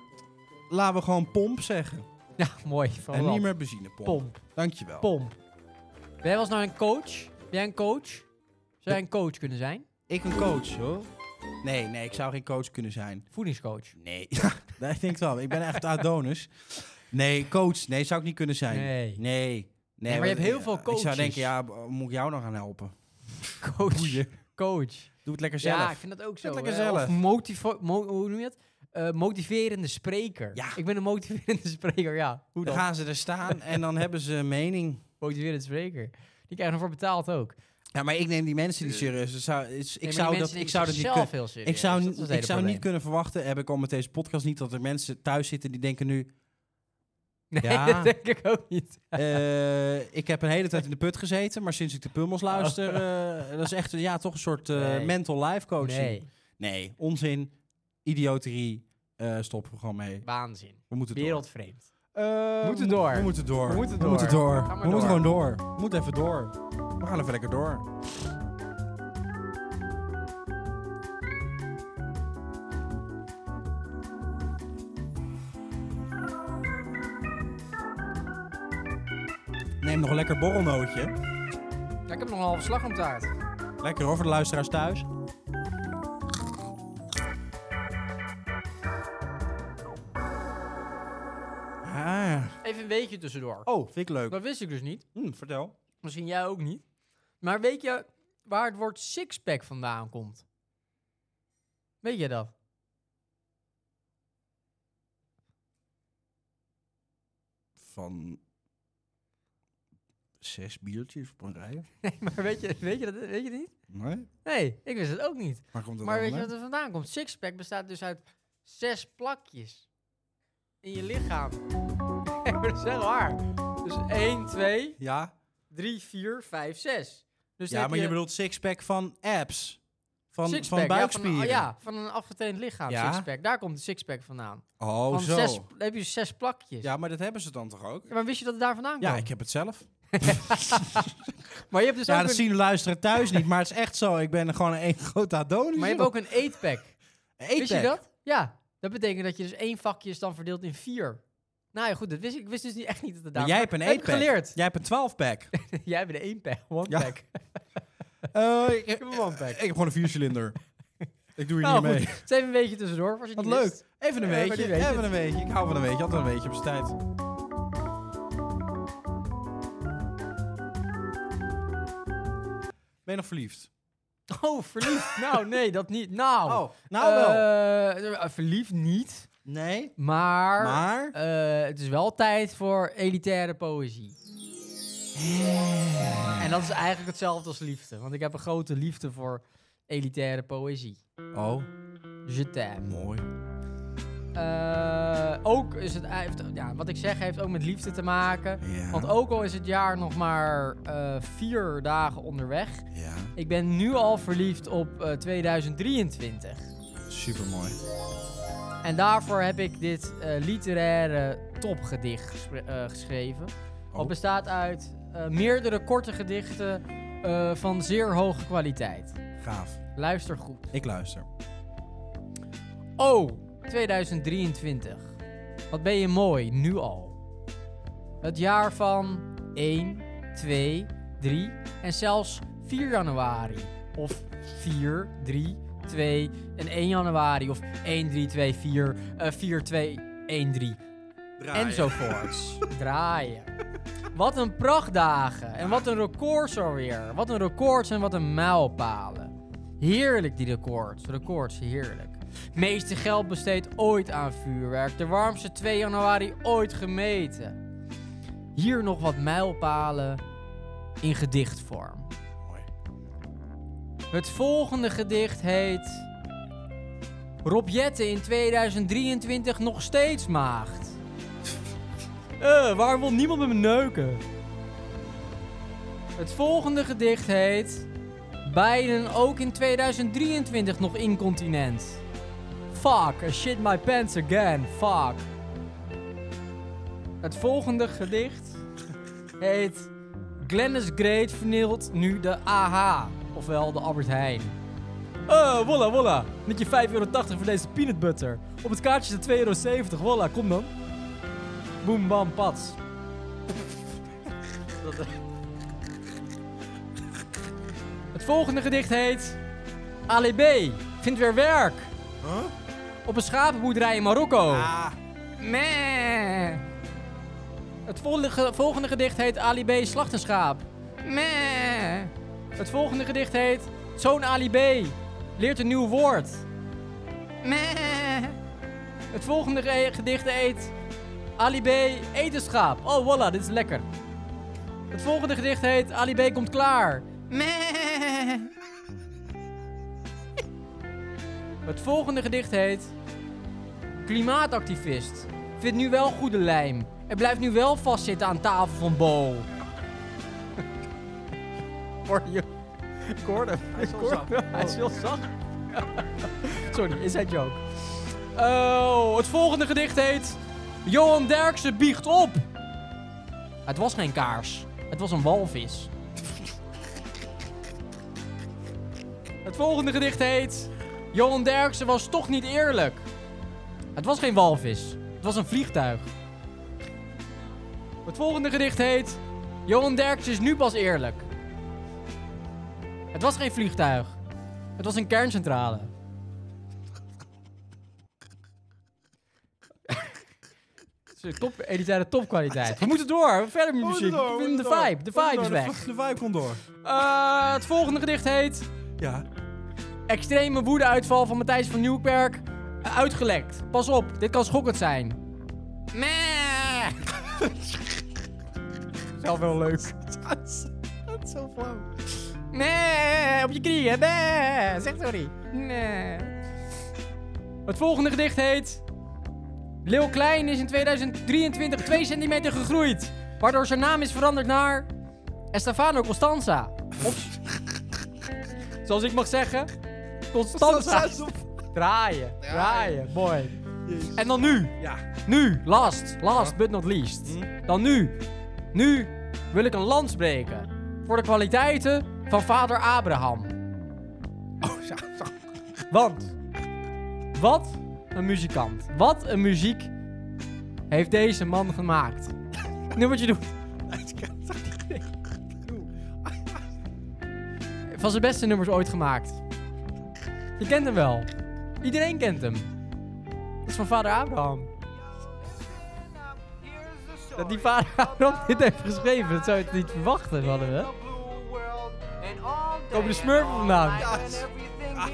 laten we gewoon pomp zeggen.
Ja, mooi. Van
en
wat.
niet meer benzinepomp.
pomp.
Dankjewel.
Pomp. Ben jij wel eens naar een coach? Ben jij een coach? Zou jij een coach kunnen zijn?
Ik een coach, hoor. Nee, nee, ik zou geen coach kunnen zijn.
Voedingscoach.
Nee, ja, dat denk ik wel. Ik ben echt Adonis. Nee, coach. Nee, zou ik niet kunnen zijn.
Nee.
Nee. Nee,
maar je
want,
hebt heel
eh,
veel
Ik zou
coaches.
denken, ja, b- moet ik jou nog gaan helpen?
Coach. Coach.
Doe het lekker zelf.
Ja, ik vind dat ook zo.
Vind het
hè.
lekker
Of
zelf.
motivo- mo- hoe noem je het? Eh, motiverende spreker.
Ja.
Ik ben een motiverende spreker, ja. Hoe
Dan
dan?
gaan ze er staan en dan hebben ze een mening.
Motiverende spreker. Die krijgen ervoor betaald ook.
Ja, maar ik neem die mensen
Eh.
niet serieus. Dus zou, is- ik, zou dat, ik zou dat niet
zelf
kunnen.
heel serieus.
Ik zou,
Dat is het
ik
hele
zou niet
probleem.
kunnen verwachten, heb ik al met deze podcast niet, dat er mensen thuis zitten die denken nu...
Nee,
Ja.
dat denk ik ook niet.
Eh, ik heb een hele tijd in de put gezeten, maar sinds ik de Pummels luister, eh, dat is echt ja, toch een soort eh,
Oh. Nee.
mental life coaching.
Nee,
Nee, onzin, idioterie, eh stop er gewoon mee.
waanzin.
We moeten door.
Wereldvreemd.
Eh,
We moeten
mo-
door.
We moeten door.
We moeten
We
door.
moeten, door.
Ga maar
We moeten
door.
gewoon door. We moeten even door. We gaan even lekker door. Neem nog een lekker borrelnootje.
Ja, ik heb nog een halve slag om taart.
Lekker hoor, voor de luisteraars thuis. Ah.
Even een weetje tussendoor.
Oh, vind ik leuk.
Dat wist ik dus niet.
Hm, vertel.
Misschien jij ook niet. Maar weet je waar het woord sixpack vandaan komt? Weet je dat?
van zes biertjes op een rij.
Nee, maar weet je, weet je, dat, weet je het niet?
Nee?
Nee, ik wist het ook niet.
Waar komt dat
Maar weet je
vandaan?
wat er vandaan komt? Sixpack bestaat dus uit zes plakjes in je lichaam. Nee, maar dat is echt waar. Dus 1, 2,
Ja,
3, 4, 5, 6. Dus
ja
heb
maar je, bedoelt sixpack van abs. Van,
sixpack,
van
ja,
buikspieren.
Ja, van, een afgetraind lichaam,
Ja.
sixpack. Daar komt de sixpack vandaan.
Oh,
van
zo.
Zes, dan heb je zes plakjes.
Ja, maar dat hebben ze dan toch ook?
Ja, Maar wist je dat het daar vandaan
Ja,
kwam?
ik heb het zelf.
Maar je hebt dus
Ja,
ook,
dat
een,
zien de luisteren thuis niet, maar het is echt zo. Ik ben er gewoon een grote adonis.
maar je hebt ook een eetpack.
Eet
Wist je dat? Ja. Dat betekent dat je dus één vakje is dan verdeeld in vier. Nou ja, goed. Dat wist, ik- ik wist dus niet, echt niet dat het daar...
jij hebt een
Heb ik
eetpack.
geleerd.
Jij hebt een 12-pack.
Jij hebt een één pack. One
Ja.
pack.
Eh, ik, ik
heb een one-pack.
heb gewoon een viercilinder. ik doe hier
Nou,
niet mee.
goed. Het is even een beetje tussendoor. Was je het
Wat
niet
leuk.
wist.
Even een
Ja, maar
weetje.
die weet
Even
het.
een weetje. Ik hou van een weetje. Altijd een weetje op zijn tijd. Ben je nog verliefd?
Oh, verliefd. nou, nee, dat niet. Nou.
nou wel.
wel. verliefd niet.
Nee.
Maar...
Maar?
eh, het is wel tijd voor elitaire poëzie. En dat is eigenlijk hetzelfde als liefde. Want ik heb een grote liefde voor elitaire poëzie.
Oh,
Je t'aime.
mooi.
Eh, ook is het, hij heeft- ja, wat ik zeg heeft ook met liefde te maken.
Ja.
Want ook al is het jaar nog maar eh, vier dagen onderweg.
Ja,
Ik ben nu al verliefd op eh, 2023.
supermooi.
En daarvoor heb ik dit eh, literaire topgedicht gespre- eh, geschreven.
Oh.
Wat bestaat uit eh, meerdere korte gedichten eh, van zeer hoge kwaliteit.
Gaaf.
Luister goed.
Ik luister.
Oh, 2023. Wat ben je mooi, nu al. Het jaar van 1, 2, 3 en zelfs 4 januari. Of 4, 3, 2 en 1 januari. Of 1, 3, 2, 4, eh 4, 2, 1, 3. Enzovoorts. Draaien. Wat een prachtdagen. En wat een records alweer. Wat een records en wat een mijlpalen. Heerlijk die records. Records, heerlijk. Meeste geld besteed ooit aan vuurwerk. De warmste 2 januari ooit gemeten. Hier nog wat mijlpalen in gedichtvorm.
Mooi.
Het volgende gedicht heet... Rob Jetten in 2023 nog steeds maagd. Eh, waarom wil niemand met me neuken? Het volgende gedicht heet... Biden ook in 2023 nog incontinent. Fuck, I shit my pants again, fuck. Het volgende gedicht heet... Glennis Great vernielt nu de AH, ofwel de Albert Heijn. Eh, wolla, wolla. Met je 5,80 euro voor deze peanut butter. Op het kaartje de 2,70 euro. Wolla, kom dan. Boem, bam, pats. Dat- het volgende gedicht heet... Ali B. Vindt weer werk.
Huh?
Op een schapenboerderij in Marokko.
Ah,
Meh. Het volgende, volgende gedicht heet Ali B. slacht een schaap. Meh. Het volgende gedicht heet Zoon Ali B. leert een nieuw woord. Meh. Het volgende ge- gedicht heet Ali B. eet een schaap. Oh, voilà, dit is lekker. Het volgende gedicht heet Ali B. komt klaar. Meh. Het volgende gedicht heet Klimaatactivist. Vindt nu wel goede lijm. Het blijft nu wel vastzitten aan tafel van Bo. Hoor je? Ik hoorde hem.
Hij is heel
Ik hoorde
zacht.
hem. Hij is heel zacht. Sorry, is dat joke? Oh, het volgende gedicht heet... Johan Derksen biegt op. Het was geen kaars. Het was een walvis. Het volgende gedicht heet... Johan Derksen was toch niet eerlijk. Het was geen walvis. Het was een vliegtuig. Het volgende gedicht heet... Johan Derksen is nu pas eerlijk. Het was geen vliegtuig. Het was een kerncentrale. Het is een Top, elitaire topkwaliteit. We moeten door. Verder met muziek.
door, we
We vinden de
moeten
vibe. De
door.
vibe is
De
weg.
v- De vibe komt door.
Eh, het volgende gedicht heet...
Ja.
Extreme woedeuitval van Matthijs van Nieuwkerk. eh, Uitgelekt. Pas op, dit kan schokkend zijn. Meh. Zelf wel leuk.
Dat is, zo flauw.
Nee, op je knieën. Nee, zeg sorry. Nee. Het volgende gedicht heet... Leeuw Klein is in 2023 2 centimeter gegroeid. Waardoor zijn naam is veranderd naar... Estefano Costanza. Of... Zoals ik mag zeggen... Costanza. Draaien, draaien, boy. En dan nu.
Ja.
Nu, last, last but not least.
Hm?
Dan nu. Nu wil ik een lans breken. Voor de kwaliteiten van vader Abraham.
Oh, ja. zo.
Want, wat een muzikant. Wat een muziek heeft deze man gemaakt. nu wat je doet. Van zijn beste nummers ooit gemaakt. Je kent hem wel. Iedereen kent hem. Dat is van vader Abraham. Dat die vader Abraham dit heeft geschreven, dat zou je het niet verwachten, hadden we.
Komen de smurfen vandaan? Er
Ja,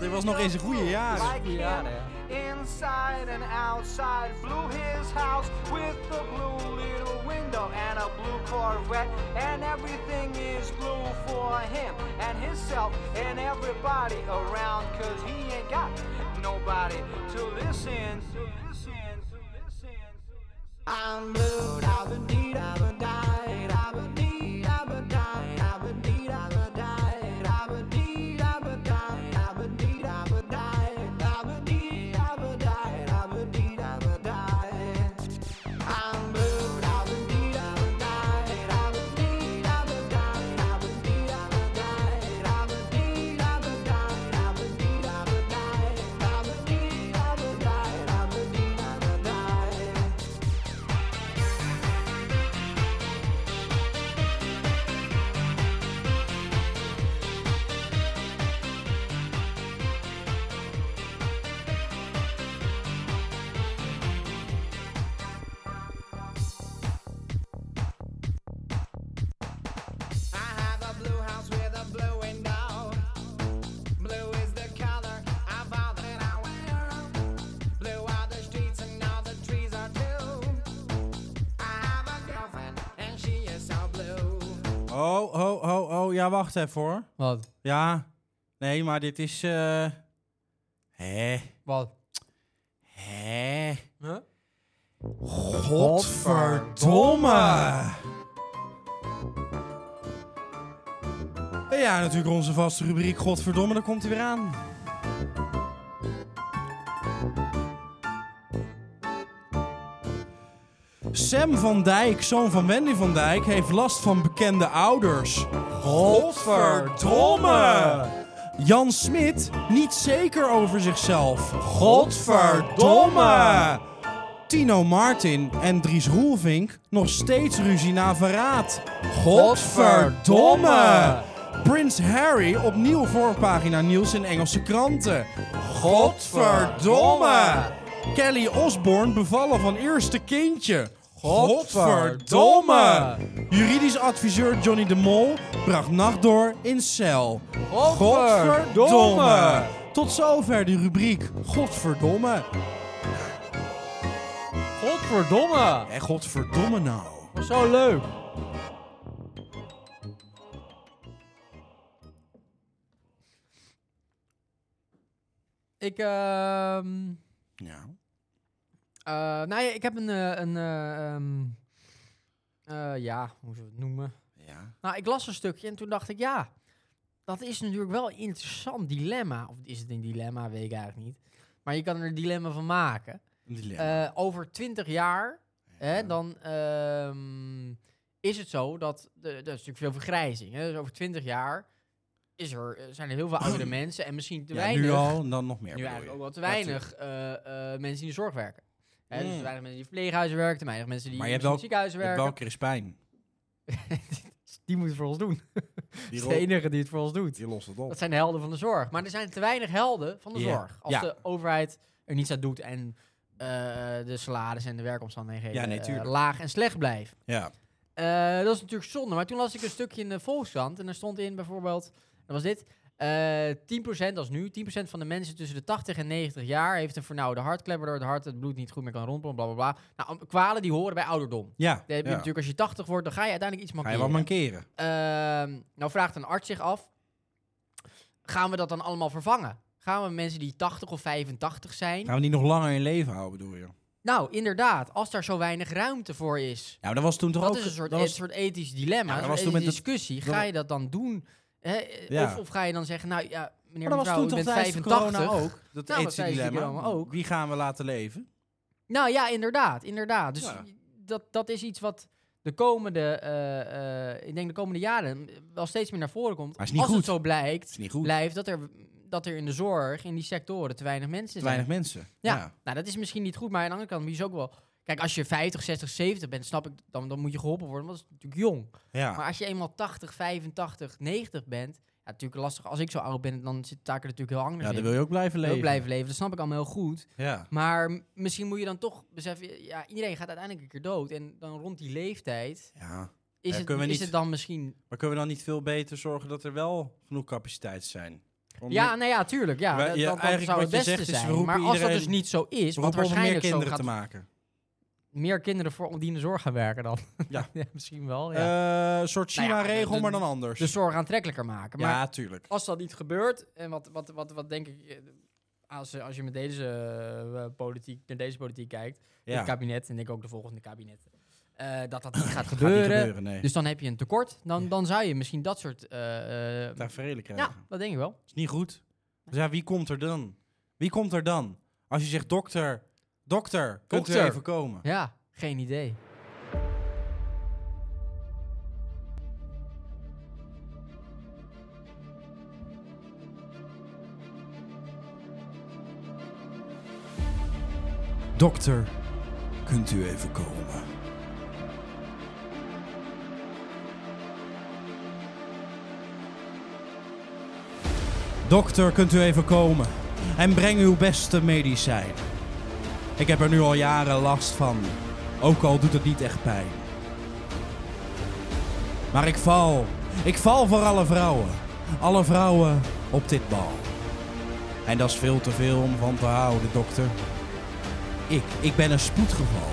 Dit was nog eens een goede jaren.
goede jaren, ja.
Inside and outside blew his house with a blue little window and a blue Corvette and everything is blue for him and himself and everybody around cause he ain't got nobody to listen to listen to listen I'm blue, I've been need, I've been died, I've been need, I've been died, I've been need, I've been died, I've been need, I've been died, I've been need, I've been died, I've been need, I've been died, I've been need, I've been died. I'm blue, I've been need, I've been died, I've been need, I've been died, I've been need, I've been died, I've been need, I've been died, I've been need, I've been died, I've been need, I've been died, I've been need, I've been died. I have a blue house with a blue window. Blue is the color of all that I wear. Blue are the streets and all the trees are blue. I have a girlfriend and she is so blue.
Oh, oh, oh, oh. Ja, wacht even hoor.
Wat?
Ja. Nee, maar dit is... eh Hé.
Wat?
Hé.
Huh?
Godverdomme. Ja, natuurlijk onze vaste rubriek Godverdomme, daar komt hij weer aan. Sam van Dijk, zoon van Wendy van Dijk, heeft last van bekende ouders. Godverdomme! Jan Smit, niet zeker over zichzelf. Godverdomme! Tino Martin en Dries Roelvink nog steeds ruzie na verraad. Godverdomme! Prins Harry opnieuw voorpagina nieuws in Engelse kranten. Godverdomme! Kelly Osborne bevallen van eerste kindje. Godverdomme! Juridisch adviseur Johnny de Mol bracht nacht door in cel. Godverdomme! Tot zover de rubriek Godverdomme.
Godverdomme!
En godverdomme nou.
Was zo leuk. Ik, ehm,
Ja.
Eh, nou ja, ik heb een... eh, een eh, ehm, eh, ja, hoe zullen we het noemen?
Ja.
Nou, ik las een stukje en toen dacht ik, ja, dat is natuurlijk wel een interessant dilemma. Of is het een dilemma, weet ik eigenlijk niet. Maar je kan er een dilemma van maken.
Een dilemma.
Eh, over twintig jaar,
Ja.
hè, dan ehm, is het zo dat... de- Er is natuurlijk veel vergrijzing. Hè? Dus over twintig jaar is er, eh, zijn er heel veel oudere mensen en misschien te
Ja,
weinig...
nu al en dan nog meer.
dus.
bedoel
Nu eigenlijk ook
je.
wel te weinig eh, eh, mensen die in de zorg werken. Hè, Dus
Mm.
te weinig mensen die in verpleeghuizen werken, te weinig mensen die
Maar
in
je hebt
misschien
wel- Je
ziekenhuizen
hebt wel
werken.
Crispijn.
Die moeten voor ons doen.
Die,
Dat is de
ro-
enige die het voor ons doet.
die lost het op.
Dat zijn de helden van de zorg. Maar er zijn te weinig helden van de
Ja.
zorg. Als
Ja.
de overheid er niets aan doet en eh, de salaris en de werkomstandigheden
Ja, nee,
eh,
tuurlijk.
laag en slecht blijven.
Ja.
Eh, dat is natuurlijk zonde. Maar toen las ik een stukje in de Volkskrant en er stond in bijvoorbeeld, dat was dit, eh 10% als nu, 10% van de mensen tussen de 80 en 90 jaar heeft een vernauwde hartklep, waardoor het hart het bloed niet goed meer kan rondpompen, bla bla bla. Nou, am- kwalen die horen bij ouderdom.
Ja.
Dan heb je
ja.
natuurlijk, als je 80 wordt, dan ga je uiteindelijk iets
Ga
makkelijker.
je wat mankeren?
Ehm, nou vraagt een arts zich af: gaan we dat dan allemaal vervangen? Gaan we mensen die 80 of 85 zijn?
Gaan we die nog langer in leven houden, bedoel je?
Nou, inderdaad, als daar zo weinig ruimte voor is.
Ja, maar dat was toen toch
dat
ook...
is een soort,
dat
een
was-
soort ethisch dilemma,
Ja,
een
dat was
soort
toen
ethische
met
discussie.
dat-
Ga je dat dan doen? Hè? Eh,
Ja.
Of, of ga je dan zeggen, nou ja, meneer
maar dat was
mevrouw,
toen
u
toch
bent Nou,
tijdens de
85.
corona ook? Dat
dat
ethische
tijdens de
dilemma.
corona ook.
Wie gaan we laten leven?
Nou ja, inderdaad, inderdaad. Dus
Ja.
dat, dat is iets wat de komende, eh, eh, ik denk de komende jaren wel steeds meer naar voren komt.
Maar is niet
als
goed.
het zo blijkt,
Dat is niet goed.
blijft dat er, dat er in de zorg, in die sectoren, te weinig mensen
Te
zijn.
weinig mensen.
ja. nou dat is misschien niet goed, maar aan de andere kant, wie is ook wel... Kijk, als je 50, 60, 70 bent, snap ik, dan, dan moet je geholpen worden, want dat is natuurlijk jong.
Ja.
Maar als je eenmaal 80, 85, 90 bent, ja, natuurlijk lastig. Als ik zo oud ben, dan zit de taak er natuurlijk heel anders
Ja,
in.
dan wil je ook blijven
Wil
leven.
ook blijven leven, dat snap ik allemaal heel goed.
Ja.
Maar m- misschien moet je dan toch beseffen, ja, iedereen gaat uiteindelijk een keer dood. En dan rond die leeftijd
ja.
is,
Ja,
het,
kunnen we
is
niet-
het dan misschien...
Maar kunnen we dan niet veel beter zorgen dat er wel genoeg capaciteiten zijn? Om-
Ja, nou ja, tuurlijk. Ja,
Wij-
dat,
ja,
dat- dat
eigenlijk
zou
wat
het
je
beste
zegt is, we
zijn.
roepen
maar als dat
iedereen-
dus niet zo
we
is, want
roepen om meer
waarschijnlijk zo
kinderen
gaat
te maken.
meer kinderen voor die in de zorg gaan werken dan.
Ja.
misschien
Eh,
wel. Oh, Ja.
een soort
Nou ja,
China-regel,
de-
maar dan anders.
de zorg aantrekkelijker maken. Maar
ja, tuurlijk.
als dat niet gebeurt, en wat, wat, wat, wat denk ik, eh, als, als je met deze, eh, politiek, naar deze politiek kijkt,
Ja.
het kabinet en denk ook de volgende kabinetten, eh, dat dat niet gaat
Gaat niet
gebeuren.
gebeuren, nee.
Dus dan heb je een tekort. Dan, dan zou je misschien dat soort. eh, eh,
Daar vrede krijgen.
ja, dat denk ik wel.
is niet goed. Dus ja, wie komt er dan? Wie komt er dan? Als je zegt, dokter, dokter, kunt u
Dokter.
even komen?
Ja, geen idee.
Dokter, kunt u even komen? Dokter, kunt u even komen en breng uw beste medicijn. Ik heb er nu al jaren last van, ook al doet het niet echt pijn. Maar ik val, ik val voor alle vrouwen, alle vrouwen op dit bal. En dat is veel te veel om van te houden, dokter. Ik, ik ben een spoedgeval.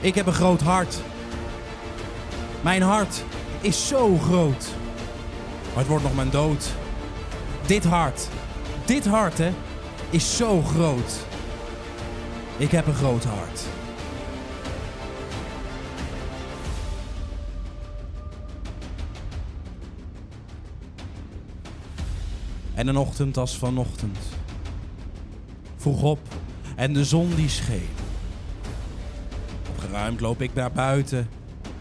Ik heb een groot hart. Mijn hart is zo groot. Maar het wordt nog mijn dood. Dit hart, dit hart hè, is zo groot. Ik heb een groot hart. en een ochtend als vanochtend. Vroeg op en de zon die scheen. Opgeruimd loop ik naar buiten.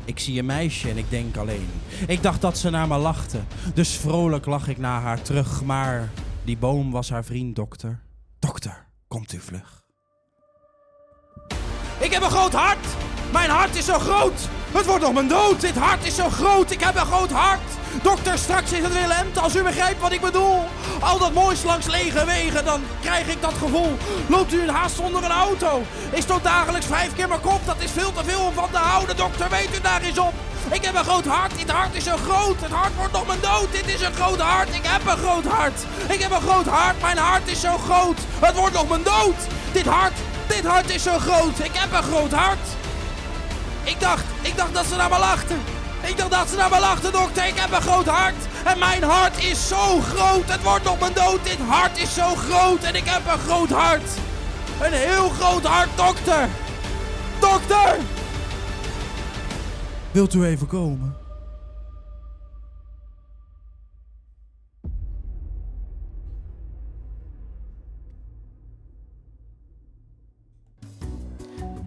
Ik zie een meisje en ik denk alleen. Ik dacht dat ze naar me lachte, dus vrolijk lag ik naar haar terug. Maar die boom was haar vriend, dokter. Dokter, komt u vlug. Ik heb een groot hart! Mijn hart is zo groot! Het wordt nog mijn dood! Dit hart is zo groot! Ik heb een groot hart! Dokter, straks is het Willem, als u begrijpt wat ik bedoel. Al dat moois langs lege wegen, dan krijg ik dat gevoel. Loopt u in haast onder een auto? Is tot dagelijks vijf keer mijn kop? Dat is veel te veel om van te houden. Dokter, weet u daar eens op? Ik heb een groot hart, dit hart is zo groot. Het hart wordt nog mijn dood. Dit is een groot hart, ik heb een groot hart. Ik heb een groot hart, mijn hart is zo groot. Het wordt nog mijn dood. Dit hart dit hart is zo groot. Ik heb een groot hart. Ik dacht, ik dacht dat ze naar me lachten.
Ik dacht dat ze naar me lachten, dokter. Ik heb een groot hart. En mijn hart is zo groot. Het wordt op mijn dood. Dit hart is zo groot. En ik heb een groot hart. Een heel groot hart, dokter. Dokter! Wilt u even komen?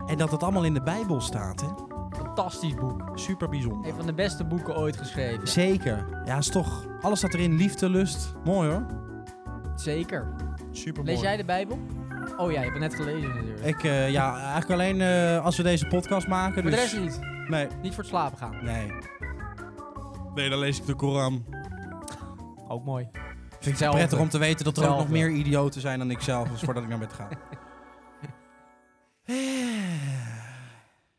En dat het allemaal in de Bijbel staat, hè?
Fantastisch boek.
Super
Een
bijzonder.
van de beste boeken ooit geschreven.
Zeker. Ja, is toch. Alles staat erin. Liefde, lust. Mooi hoor.
Zeker.
Super mooi.
Lees jij de Bijbel? Oh ja, je hebt het net gelezen natuurlijk.
Ik, eh, ja, eigenlijk alleen eh, als we deze podcast maken.
Voor
Dus...
de rest niet.
Nee.
Niet voor het slapen gaan.
Nee. Nee, dan lees ik de Koran.
Ook mooi.
Vind ik het
Hetzelfde.
prettig om te weten dat er ook nog
Hetzelfde.
meer idioten zijn dan ik zelf, als voordat ik naar bed ga.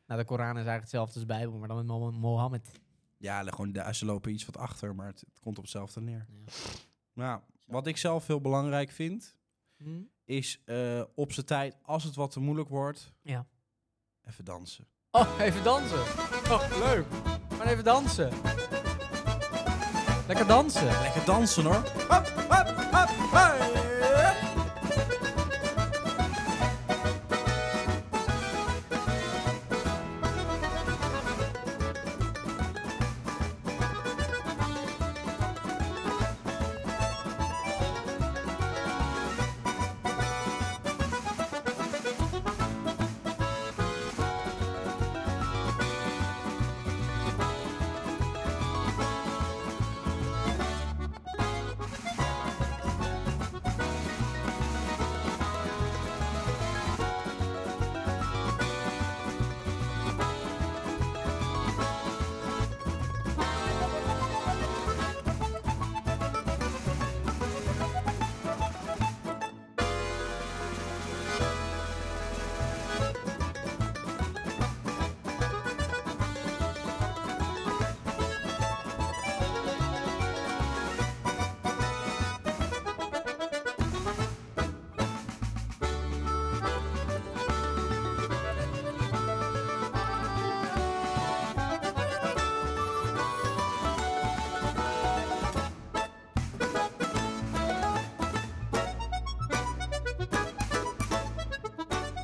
Nou, de Koran is eigenlijk hetzelfde als de Bijbel, maar dan met Mo- Mohammed.
Ja, le- gewoon, de- ze lopen iets wat achter, maar het, het komt op hetzelfde neer. Nou, wat ik zelf heel belangrijk vind, Hmm?
Hm?
is eh, op zijn tijd, als het wat te moeilijk wordt,
Ja.
even dansen.
Oh, even dansen. Oh, leuk. Maar even dansen. Lekker dansen.
Lekker dansen hoor.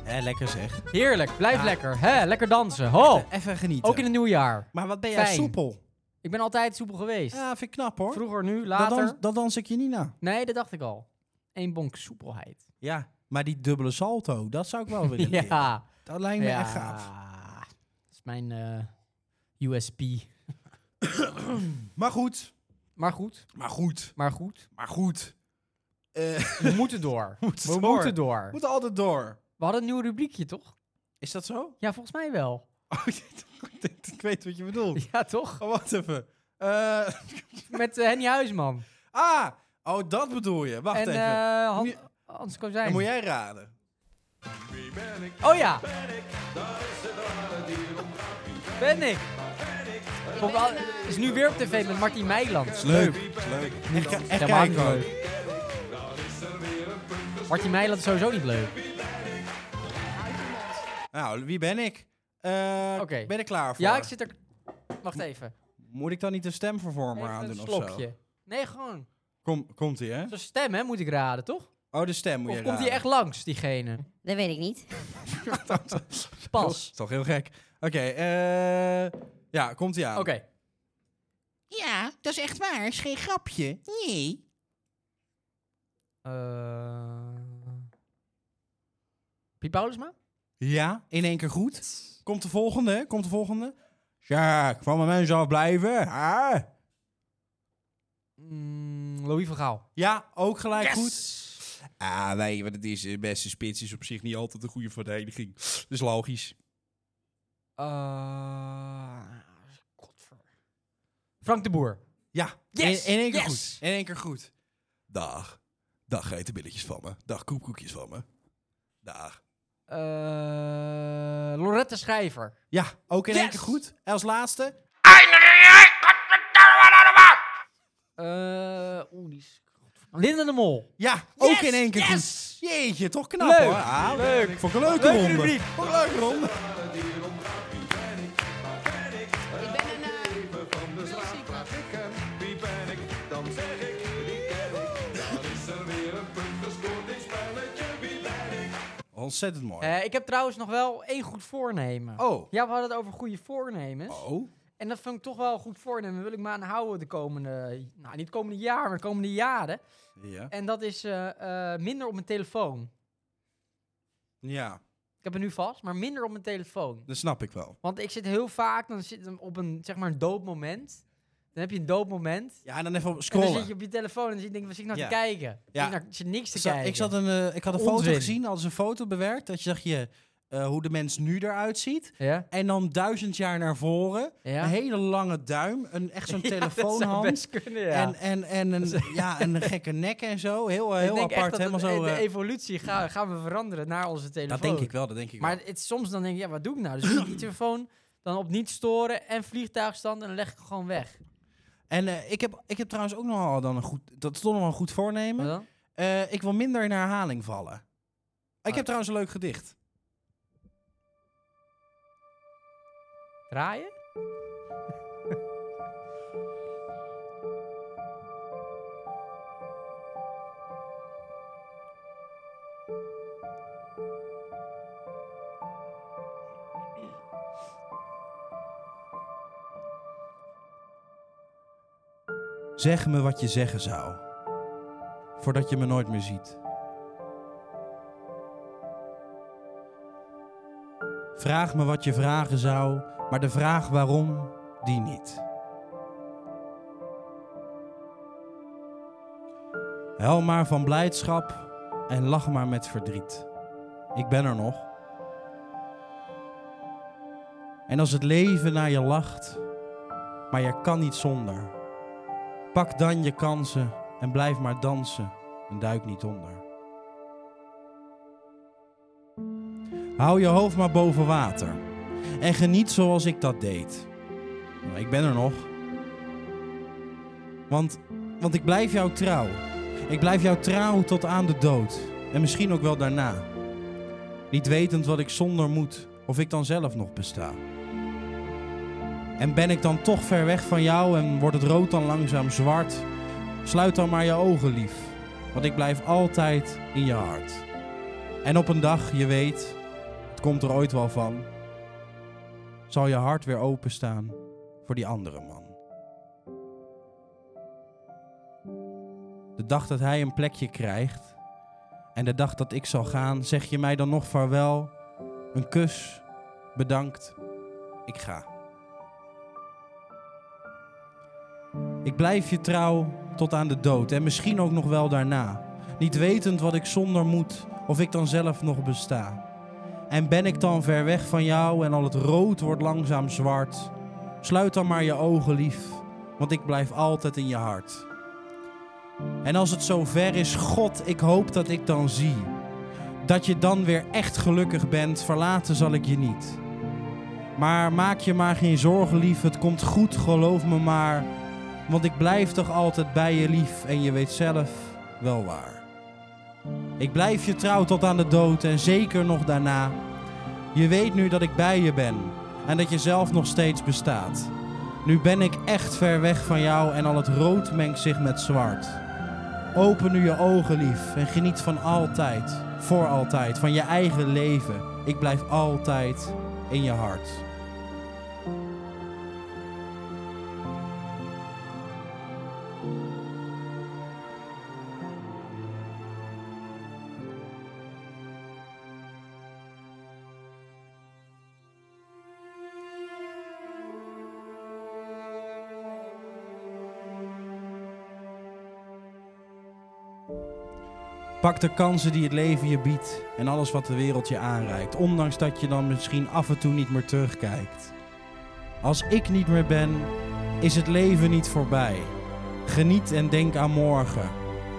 Hè, lekker zeg.
Heerlijk, blijf
Ja.
lekker. Hè, lekker dansen. Ho,
Even genieten.
Oh. ook in het nieuwe jaar.
Maar wat ben jij
Fijn.
soepel?
Ik ben altijd soepel geweest.
Ja, vind ik knap hoor.
Vroeger, nu,
Dat
later.
dans, dat dans ik je niet na.
Nee, dat dacht ik al. Eén bonk soepelheid.
Ja, maar die dubbele salto, dat zou ik wel willen leren.
Ja.
Dat lijkt me echt gaaf.
Dat is mijn eh, USP.
Maar goed.
Maar goed,
Maar goed.
maar goed.
Maar goed. Eh,
We moeten door.
moeten
We
door.
moeten door.
we moeten altijd door.
We hadden een nieuw rubriekje, toch?
Is dat zo?
Ja, volgens mij wel.
Oh, dit- dit- ik weet wat je bedoelt.
Ja, toch?
Oh, wacht even. Eh,
Met eh, Henny Huisman.
ah, oh, dat bedoel je. Wacht
en
even.
eh Han-
Moet je-
Hans
Dan
Kozijn.
moet jij raden.
Oh ja. Ben ik. Komt al- Is nu weer op tv met Martin Meiland. Is
Is leuk. Echt, echt
Helemaal niet
kijken ook.
leuk. Martin Meiland is sowieso niet leuk.
Nou, wie ben ik? Eh,
Oké.
Ben ik klaar voor?
Ja, ik zit er... Wacht even.
Moet ik dan niet een stemvervormer
Even
aandoen
een
of zo?
slokje. Nee, gewoon.
Kom, komt ie, hè?
Zo'n stem, hè, moet ik raden, toch?
Oh, de stem moet
Of
je
komt hij
raden.
echt langs, diegene?
Dat weet ik niet.
Dat
Pas.
is toch heel gek. Oké, eh, ja, komt ie aan.
Oké.
Ja, dat is echt waar. Is geen grapje. Nee.
Eh, Piet Paulusma?
Ja, in één keer goed. Komt de volgende, hè? komt de volgende. Ja, van mijn mensen afblijven. Ah.
Mm, Louis van Gaal.
Ja, ook gelijk goed. Ah, nee, want het is eh, beste spits is op zich niet altijd een goede verdediging. Dat is logisch.
Eh, Godver. Frank de Boer.
Ja,
Yes,
in, in één keer
yes.
goed. In één keer goed. Dag. Dag geitenbilletjes van me. Dag koepkoekjes van me. Dag.
Eh, Lorette Schrijver.
Ja, ook in één
Yes.
keer goed. En als laatste,
Eh, Oeh, die is... Linda de Mol.
Ja,
Yes,
ook in één keer
yes!
goed. Jeetje, toch knap
Leuk,
hoor. Ah,
leuk.
Vond ik een leuke
Leuke
ronde.
rubriek.
Vond ik een leuke ronde.
Ik ben een, eh,
ontzettend mooi.
Eh, ik heb trouwens nog wel één goed voornemen.
oh.
Ja, we hadden het over goede voornemens.
Oh.
En dat vond ik toch wel een goed voornemen. Wil ik me aan houden de komende, nou niet het komende jaar, maar de komende jaren.
Ja.
En dat is eh, eh, minder op mijn telefoon.
Ja,
Ik heb het nu vast, maar minder op mijn telefoon.
dat snap ik wel.
Want ik zit heel vaak, dan zit hem op een, zeg maar een dood moment. Dan heb je een dood moment.
Ja, en dan even
En
op
dan
scrollen.
zit je op je telefoon en dan denk je, wat zit ik nou
Ja.
te kijken?
Ja.
Ja. Ik, nou, ik zit niks te
Ik, zat-
kijken.
ik, zat een, eh, ik had een foto
Onzin.
gezien, hadden ze een foto bewerkt. Dat je zag je eh, hoe de mens nu eruit ziet.
Ja?
En dan duizend jaar naar voren.
Ja.
Een hele lange duim. Een, echt zo'n
Dat zou
telefoonhand.
best kunnen, ja.
En, en, en een, ja, en een gekke nek en zo. Heel, eh,
Ik
heel
denk echt
apart.
dat
Helemaal
het-
zo.
De
eh,
evolutie ga- gaan we veranderen naar onze telefoon.
dat denk ik wel, dat denk ik wel.
Maar het, soms dan denk ik, ja, wat doe ik nou? Dus ik die telefoon dan op niet storen en vliegtuigstand en dan leg ik hem gewoon weg.
En eh, ik, heb, ik heb trouwens ook nogal dan een goed... Dat is toch nog wel een goed voornemen.
Wat dan?
Eh, ik wil minder in herhaling vallen. Ik heb trouwens een leuk gedicht.
Draaien?
Zeg me wat je zeggen zou, voordat je me nooit meer ziet. Vraag me wat je vragen zou, maar de vraag waarom, die niet. Huil maar van blijdschap en lach maar met verdriet. Ik ben er nog. En als het leven naar je lacht, maar je kan niet zonder. Pak dan je kansen en blijf maar dansen en duik niet onder. Hou je hoofd maar boven water en geniet zoals ik dat deed. Maar ik ben er nog. Want, want ik blijf jou trouw. Ik blijf jou trouw tot aan de dood en misschien ook wel daarna. Niet wetend wat ik zonder moet of ik dan zelf nog besta. En ben ik dan toch ver weg van jou en wordt het rood dan langzaam zwart? Sluit dan maar je ogen lief, want ik blijf altijd in je hart. En op een dag, je weet, het komt er ooit wel van, zal je hart weer openstaan voor die andere man. De dag dat hij een plekje krijgt en de dag dat ik zal gaan, zeg je mij dan nog vaarwel, een kus, bedankt, ik ga. Ik blijf je trouw tot aan de dood en misschien ook nog wel daarna. Niet wetend wat ik zonder moet of ik dan zelf nog besta. En ben ik dan ver weg van jou en al het rood wordt langzaam zwart. Sluit dan maar je ogen lief, want ik blijf altijd in je hart. En als het zo ver is, God, ik hoop dat ik dan zie. Dat je dan weer echt gelukkig bent, verlaten zal ik je niet. Maar maak je maar geen zorgen lief, het komt goed, geloof me maar. Want ik blijf toch altijd bij je lief en je weet zelf wel waar. Ik blijf je trouw tot aan de dood en zeker nog daarna. Je weet nu dat ik bij je ben en dat je zelf nog steeds bestaat. Nu ben ik echt ver weg van jou en al het rood mengt zich met zwart. Open nu je ogen lief en geniet van altijd, voor altijd, van je eigen leven. Ik blijf altijd in je hart. Pak de kansen die het leven je biedt en alles wat de wereld je aanreikt, ondanks dat je dan misschien af en toe niet meer terugkijkt. Als ik niet meer ben, is het leven niet voorbij. Geniet en denk aan morgen.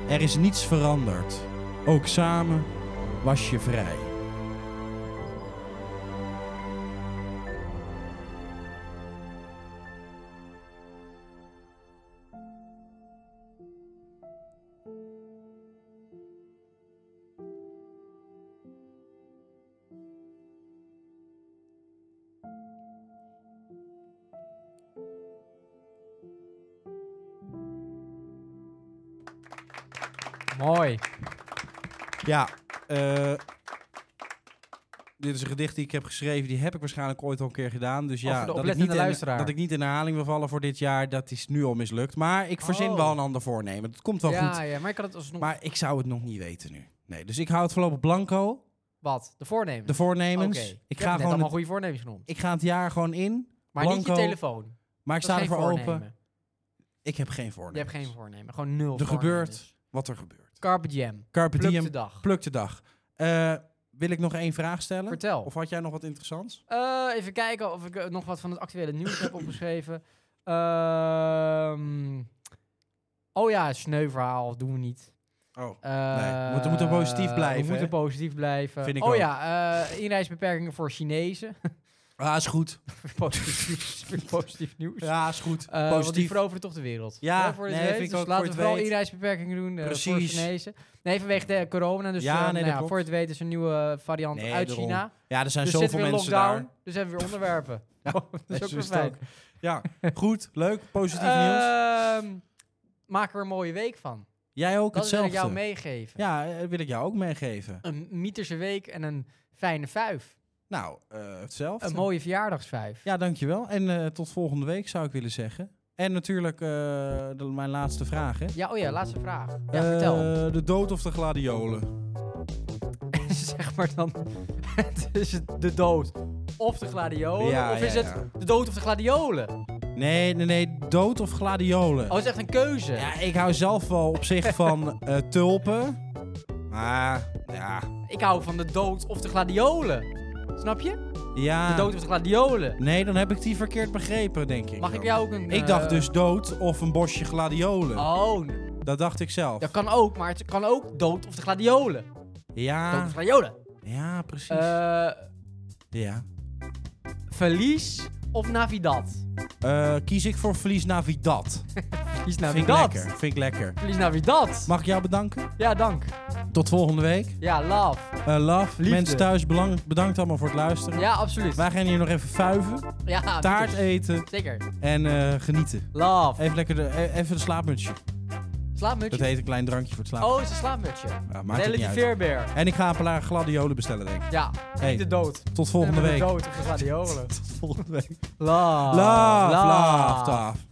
Er is niets veranderd. Ook samen was je vrij.
Mooi.
Ja, eh, Dit is een gedicht die ik heb geschreven. Die heb ik waarschijnlijk ooit al een keer gedaan. Dus
voor
ja,
de
dat ik,
oplettende
niet in,
luisteraar.
dat ik niet in herhaling wil vallen voor dit jaar, dat is nu al mislukt. Maar ik verzin
Oh.
wel een ander voornemen. Dat komt wel
ja,
goed.
ja, maar ik kan het alsnog...
Maar ik zou het nog niet weten nu. Nee, dus ik hou het voorlopig blanco.
Wat? De voornemens?
De voornemens.
Oké.
Ik,
Je hebt
ga
net
gewoon
allemaal
het,
goede voornemens genoemd.
ik ga het jaar gewoon in.
Maar niet je
blanco.
telefoon.
Maar ik
Dat
sta
is geen
ervoor
voornemen.
open. Ik heb geen voornemen.
Je hebt geen voornemen. Gewoon nul
Er
voornemens.
gebeurt wat er gebeurt.
Carpe diem.
Carpe
Pluk
diem,
de dag.
pluk de dag. Eh, wil ik nog één vraag stellen?
Vertel.
Of had jij nog wat interessants?
Eh, even kijken of ik eh, nog wat van het actuele nieuws heb opgeschreven. Ehm, oh ja, sneuverhaal doen we niet.
Oh.
Eh,
Nee, we moeten- we moeten positief blijven,
We
hè?
moeten positief blijven.
Vind ik
oh
ook.
ja, eh, inreisbeperkingen voor Chinezen.
Ja, Ah, is goed.
positief, weer positief nieuws.
Ja, is goed.
Eh, want die
Positief.
veroveren toch de wereld.
Ja,
Hè, voor de
nee,
Chinezen.
vind ik
dus
ook
laten
voor
we
het
vooral
weet.
inreisbeperkingen doen eh, voor
Precies.
Chinezen. Nee, vanwege de corona. Dus
Ja,
eh,
nee,
nou
dat
ja,
klopt.
voor het weten is een nieuwe eh, variant
Nee,
uit
daarom.
China.
Ja, er zijn
Dus zitten
zoveel
we in
mensen
lockdown.
daar.
Dus hebben we weer onderwerpen. dat is
zo
ook wel
is het
fijn.
ook. Ja, goed. Leuk. Positief nieuws.
Ehm, Maak er een mooie week van.
Jij ook
Dat wil ik
hetzelfde.
jou meegeven.
ja, eh, wil ik jou ook meegeven.
Een mythische week en een fijne vuif.
Nou, eh, hetzelfde.
Een mooie verjaardagsvuif.
Ja, dankjewel. En eh, tot volgende week zou ik willen zeggen. En natuurlijk eh, de- mijn laatste vraag, hè.
Ja, oh ja, laatste vraag. Ja, vertel.
Eh, de dood of de gladiolen?
zeg maar dan, het is het de dood of de gladiolen.
Ja,
of
ja,
is
ja.
het de dood of de gladiolen?
Nee, nee, nee. Dood of gladiolen?
Oh, het is echt een keuze.
Ja, ik hou zelf wel op zich van eh, tulpen. Maar, ja.
Ik hou van de dood of de gladiolen. Snap je?
ja.
De dood of de gladiolen.
Nee, dan heb ik die verkeerd begrepen, denk ik.
Mag ik
jou?
jou ook een...
Ik dacht
eh,
dus dood of een bosje gladiolen.
Oh,
Dat dacht ik zelf.
dat kan ook, maar het kan ook dood of de gladiolen. Dood
Ja,
of de gladiolen.
ja, Ah. precies.
Eh,
ja.
verlies of Navidad?
Eh, kies ik voor verlies Navidat.
Verlies
Vind ik
Navidad.
lekker. Vind ik lekker.
Verlies Navidad.
Mag ik jou bedanken?
Ja, dank.
Tot volgende week.
Ja, love.
Eh, love.
Liefde.
Mensen thuis, belang- bedankt allemaal voor het luisteren.
Ja, Ah, absoluut.
Wij gaan hier nog even vuiven,
Ja,
taart
zeker.
eten
Zeker.
en eh, genieten.
Love.
Even lekker de, e- even de slaapmutsje. Dat
Slaapmutsje.
heet een klein drankje voor het slapen.
Oh, het is een slaapmutsje.
Ja, maakt het niet
Melody
uit.
Veerbeer.
En ik ga een paar gladiolen bestellen, denk ik.
Ja,
Hey.
niet de dood.
Tot volgende
Nee, maar
week.
De dood of de gladiolen.
Tot volgende week.
Love.
Love, love, love.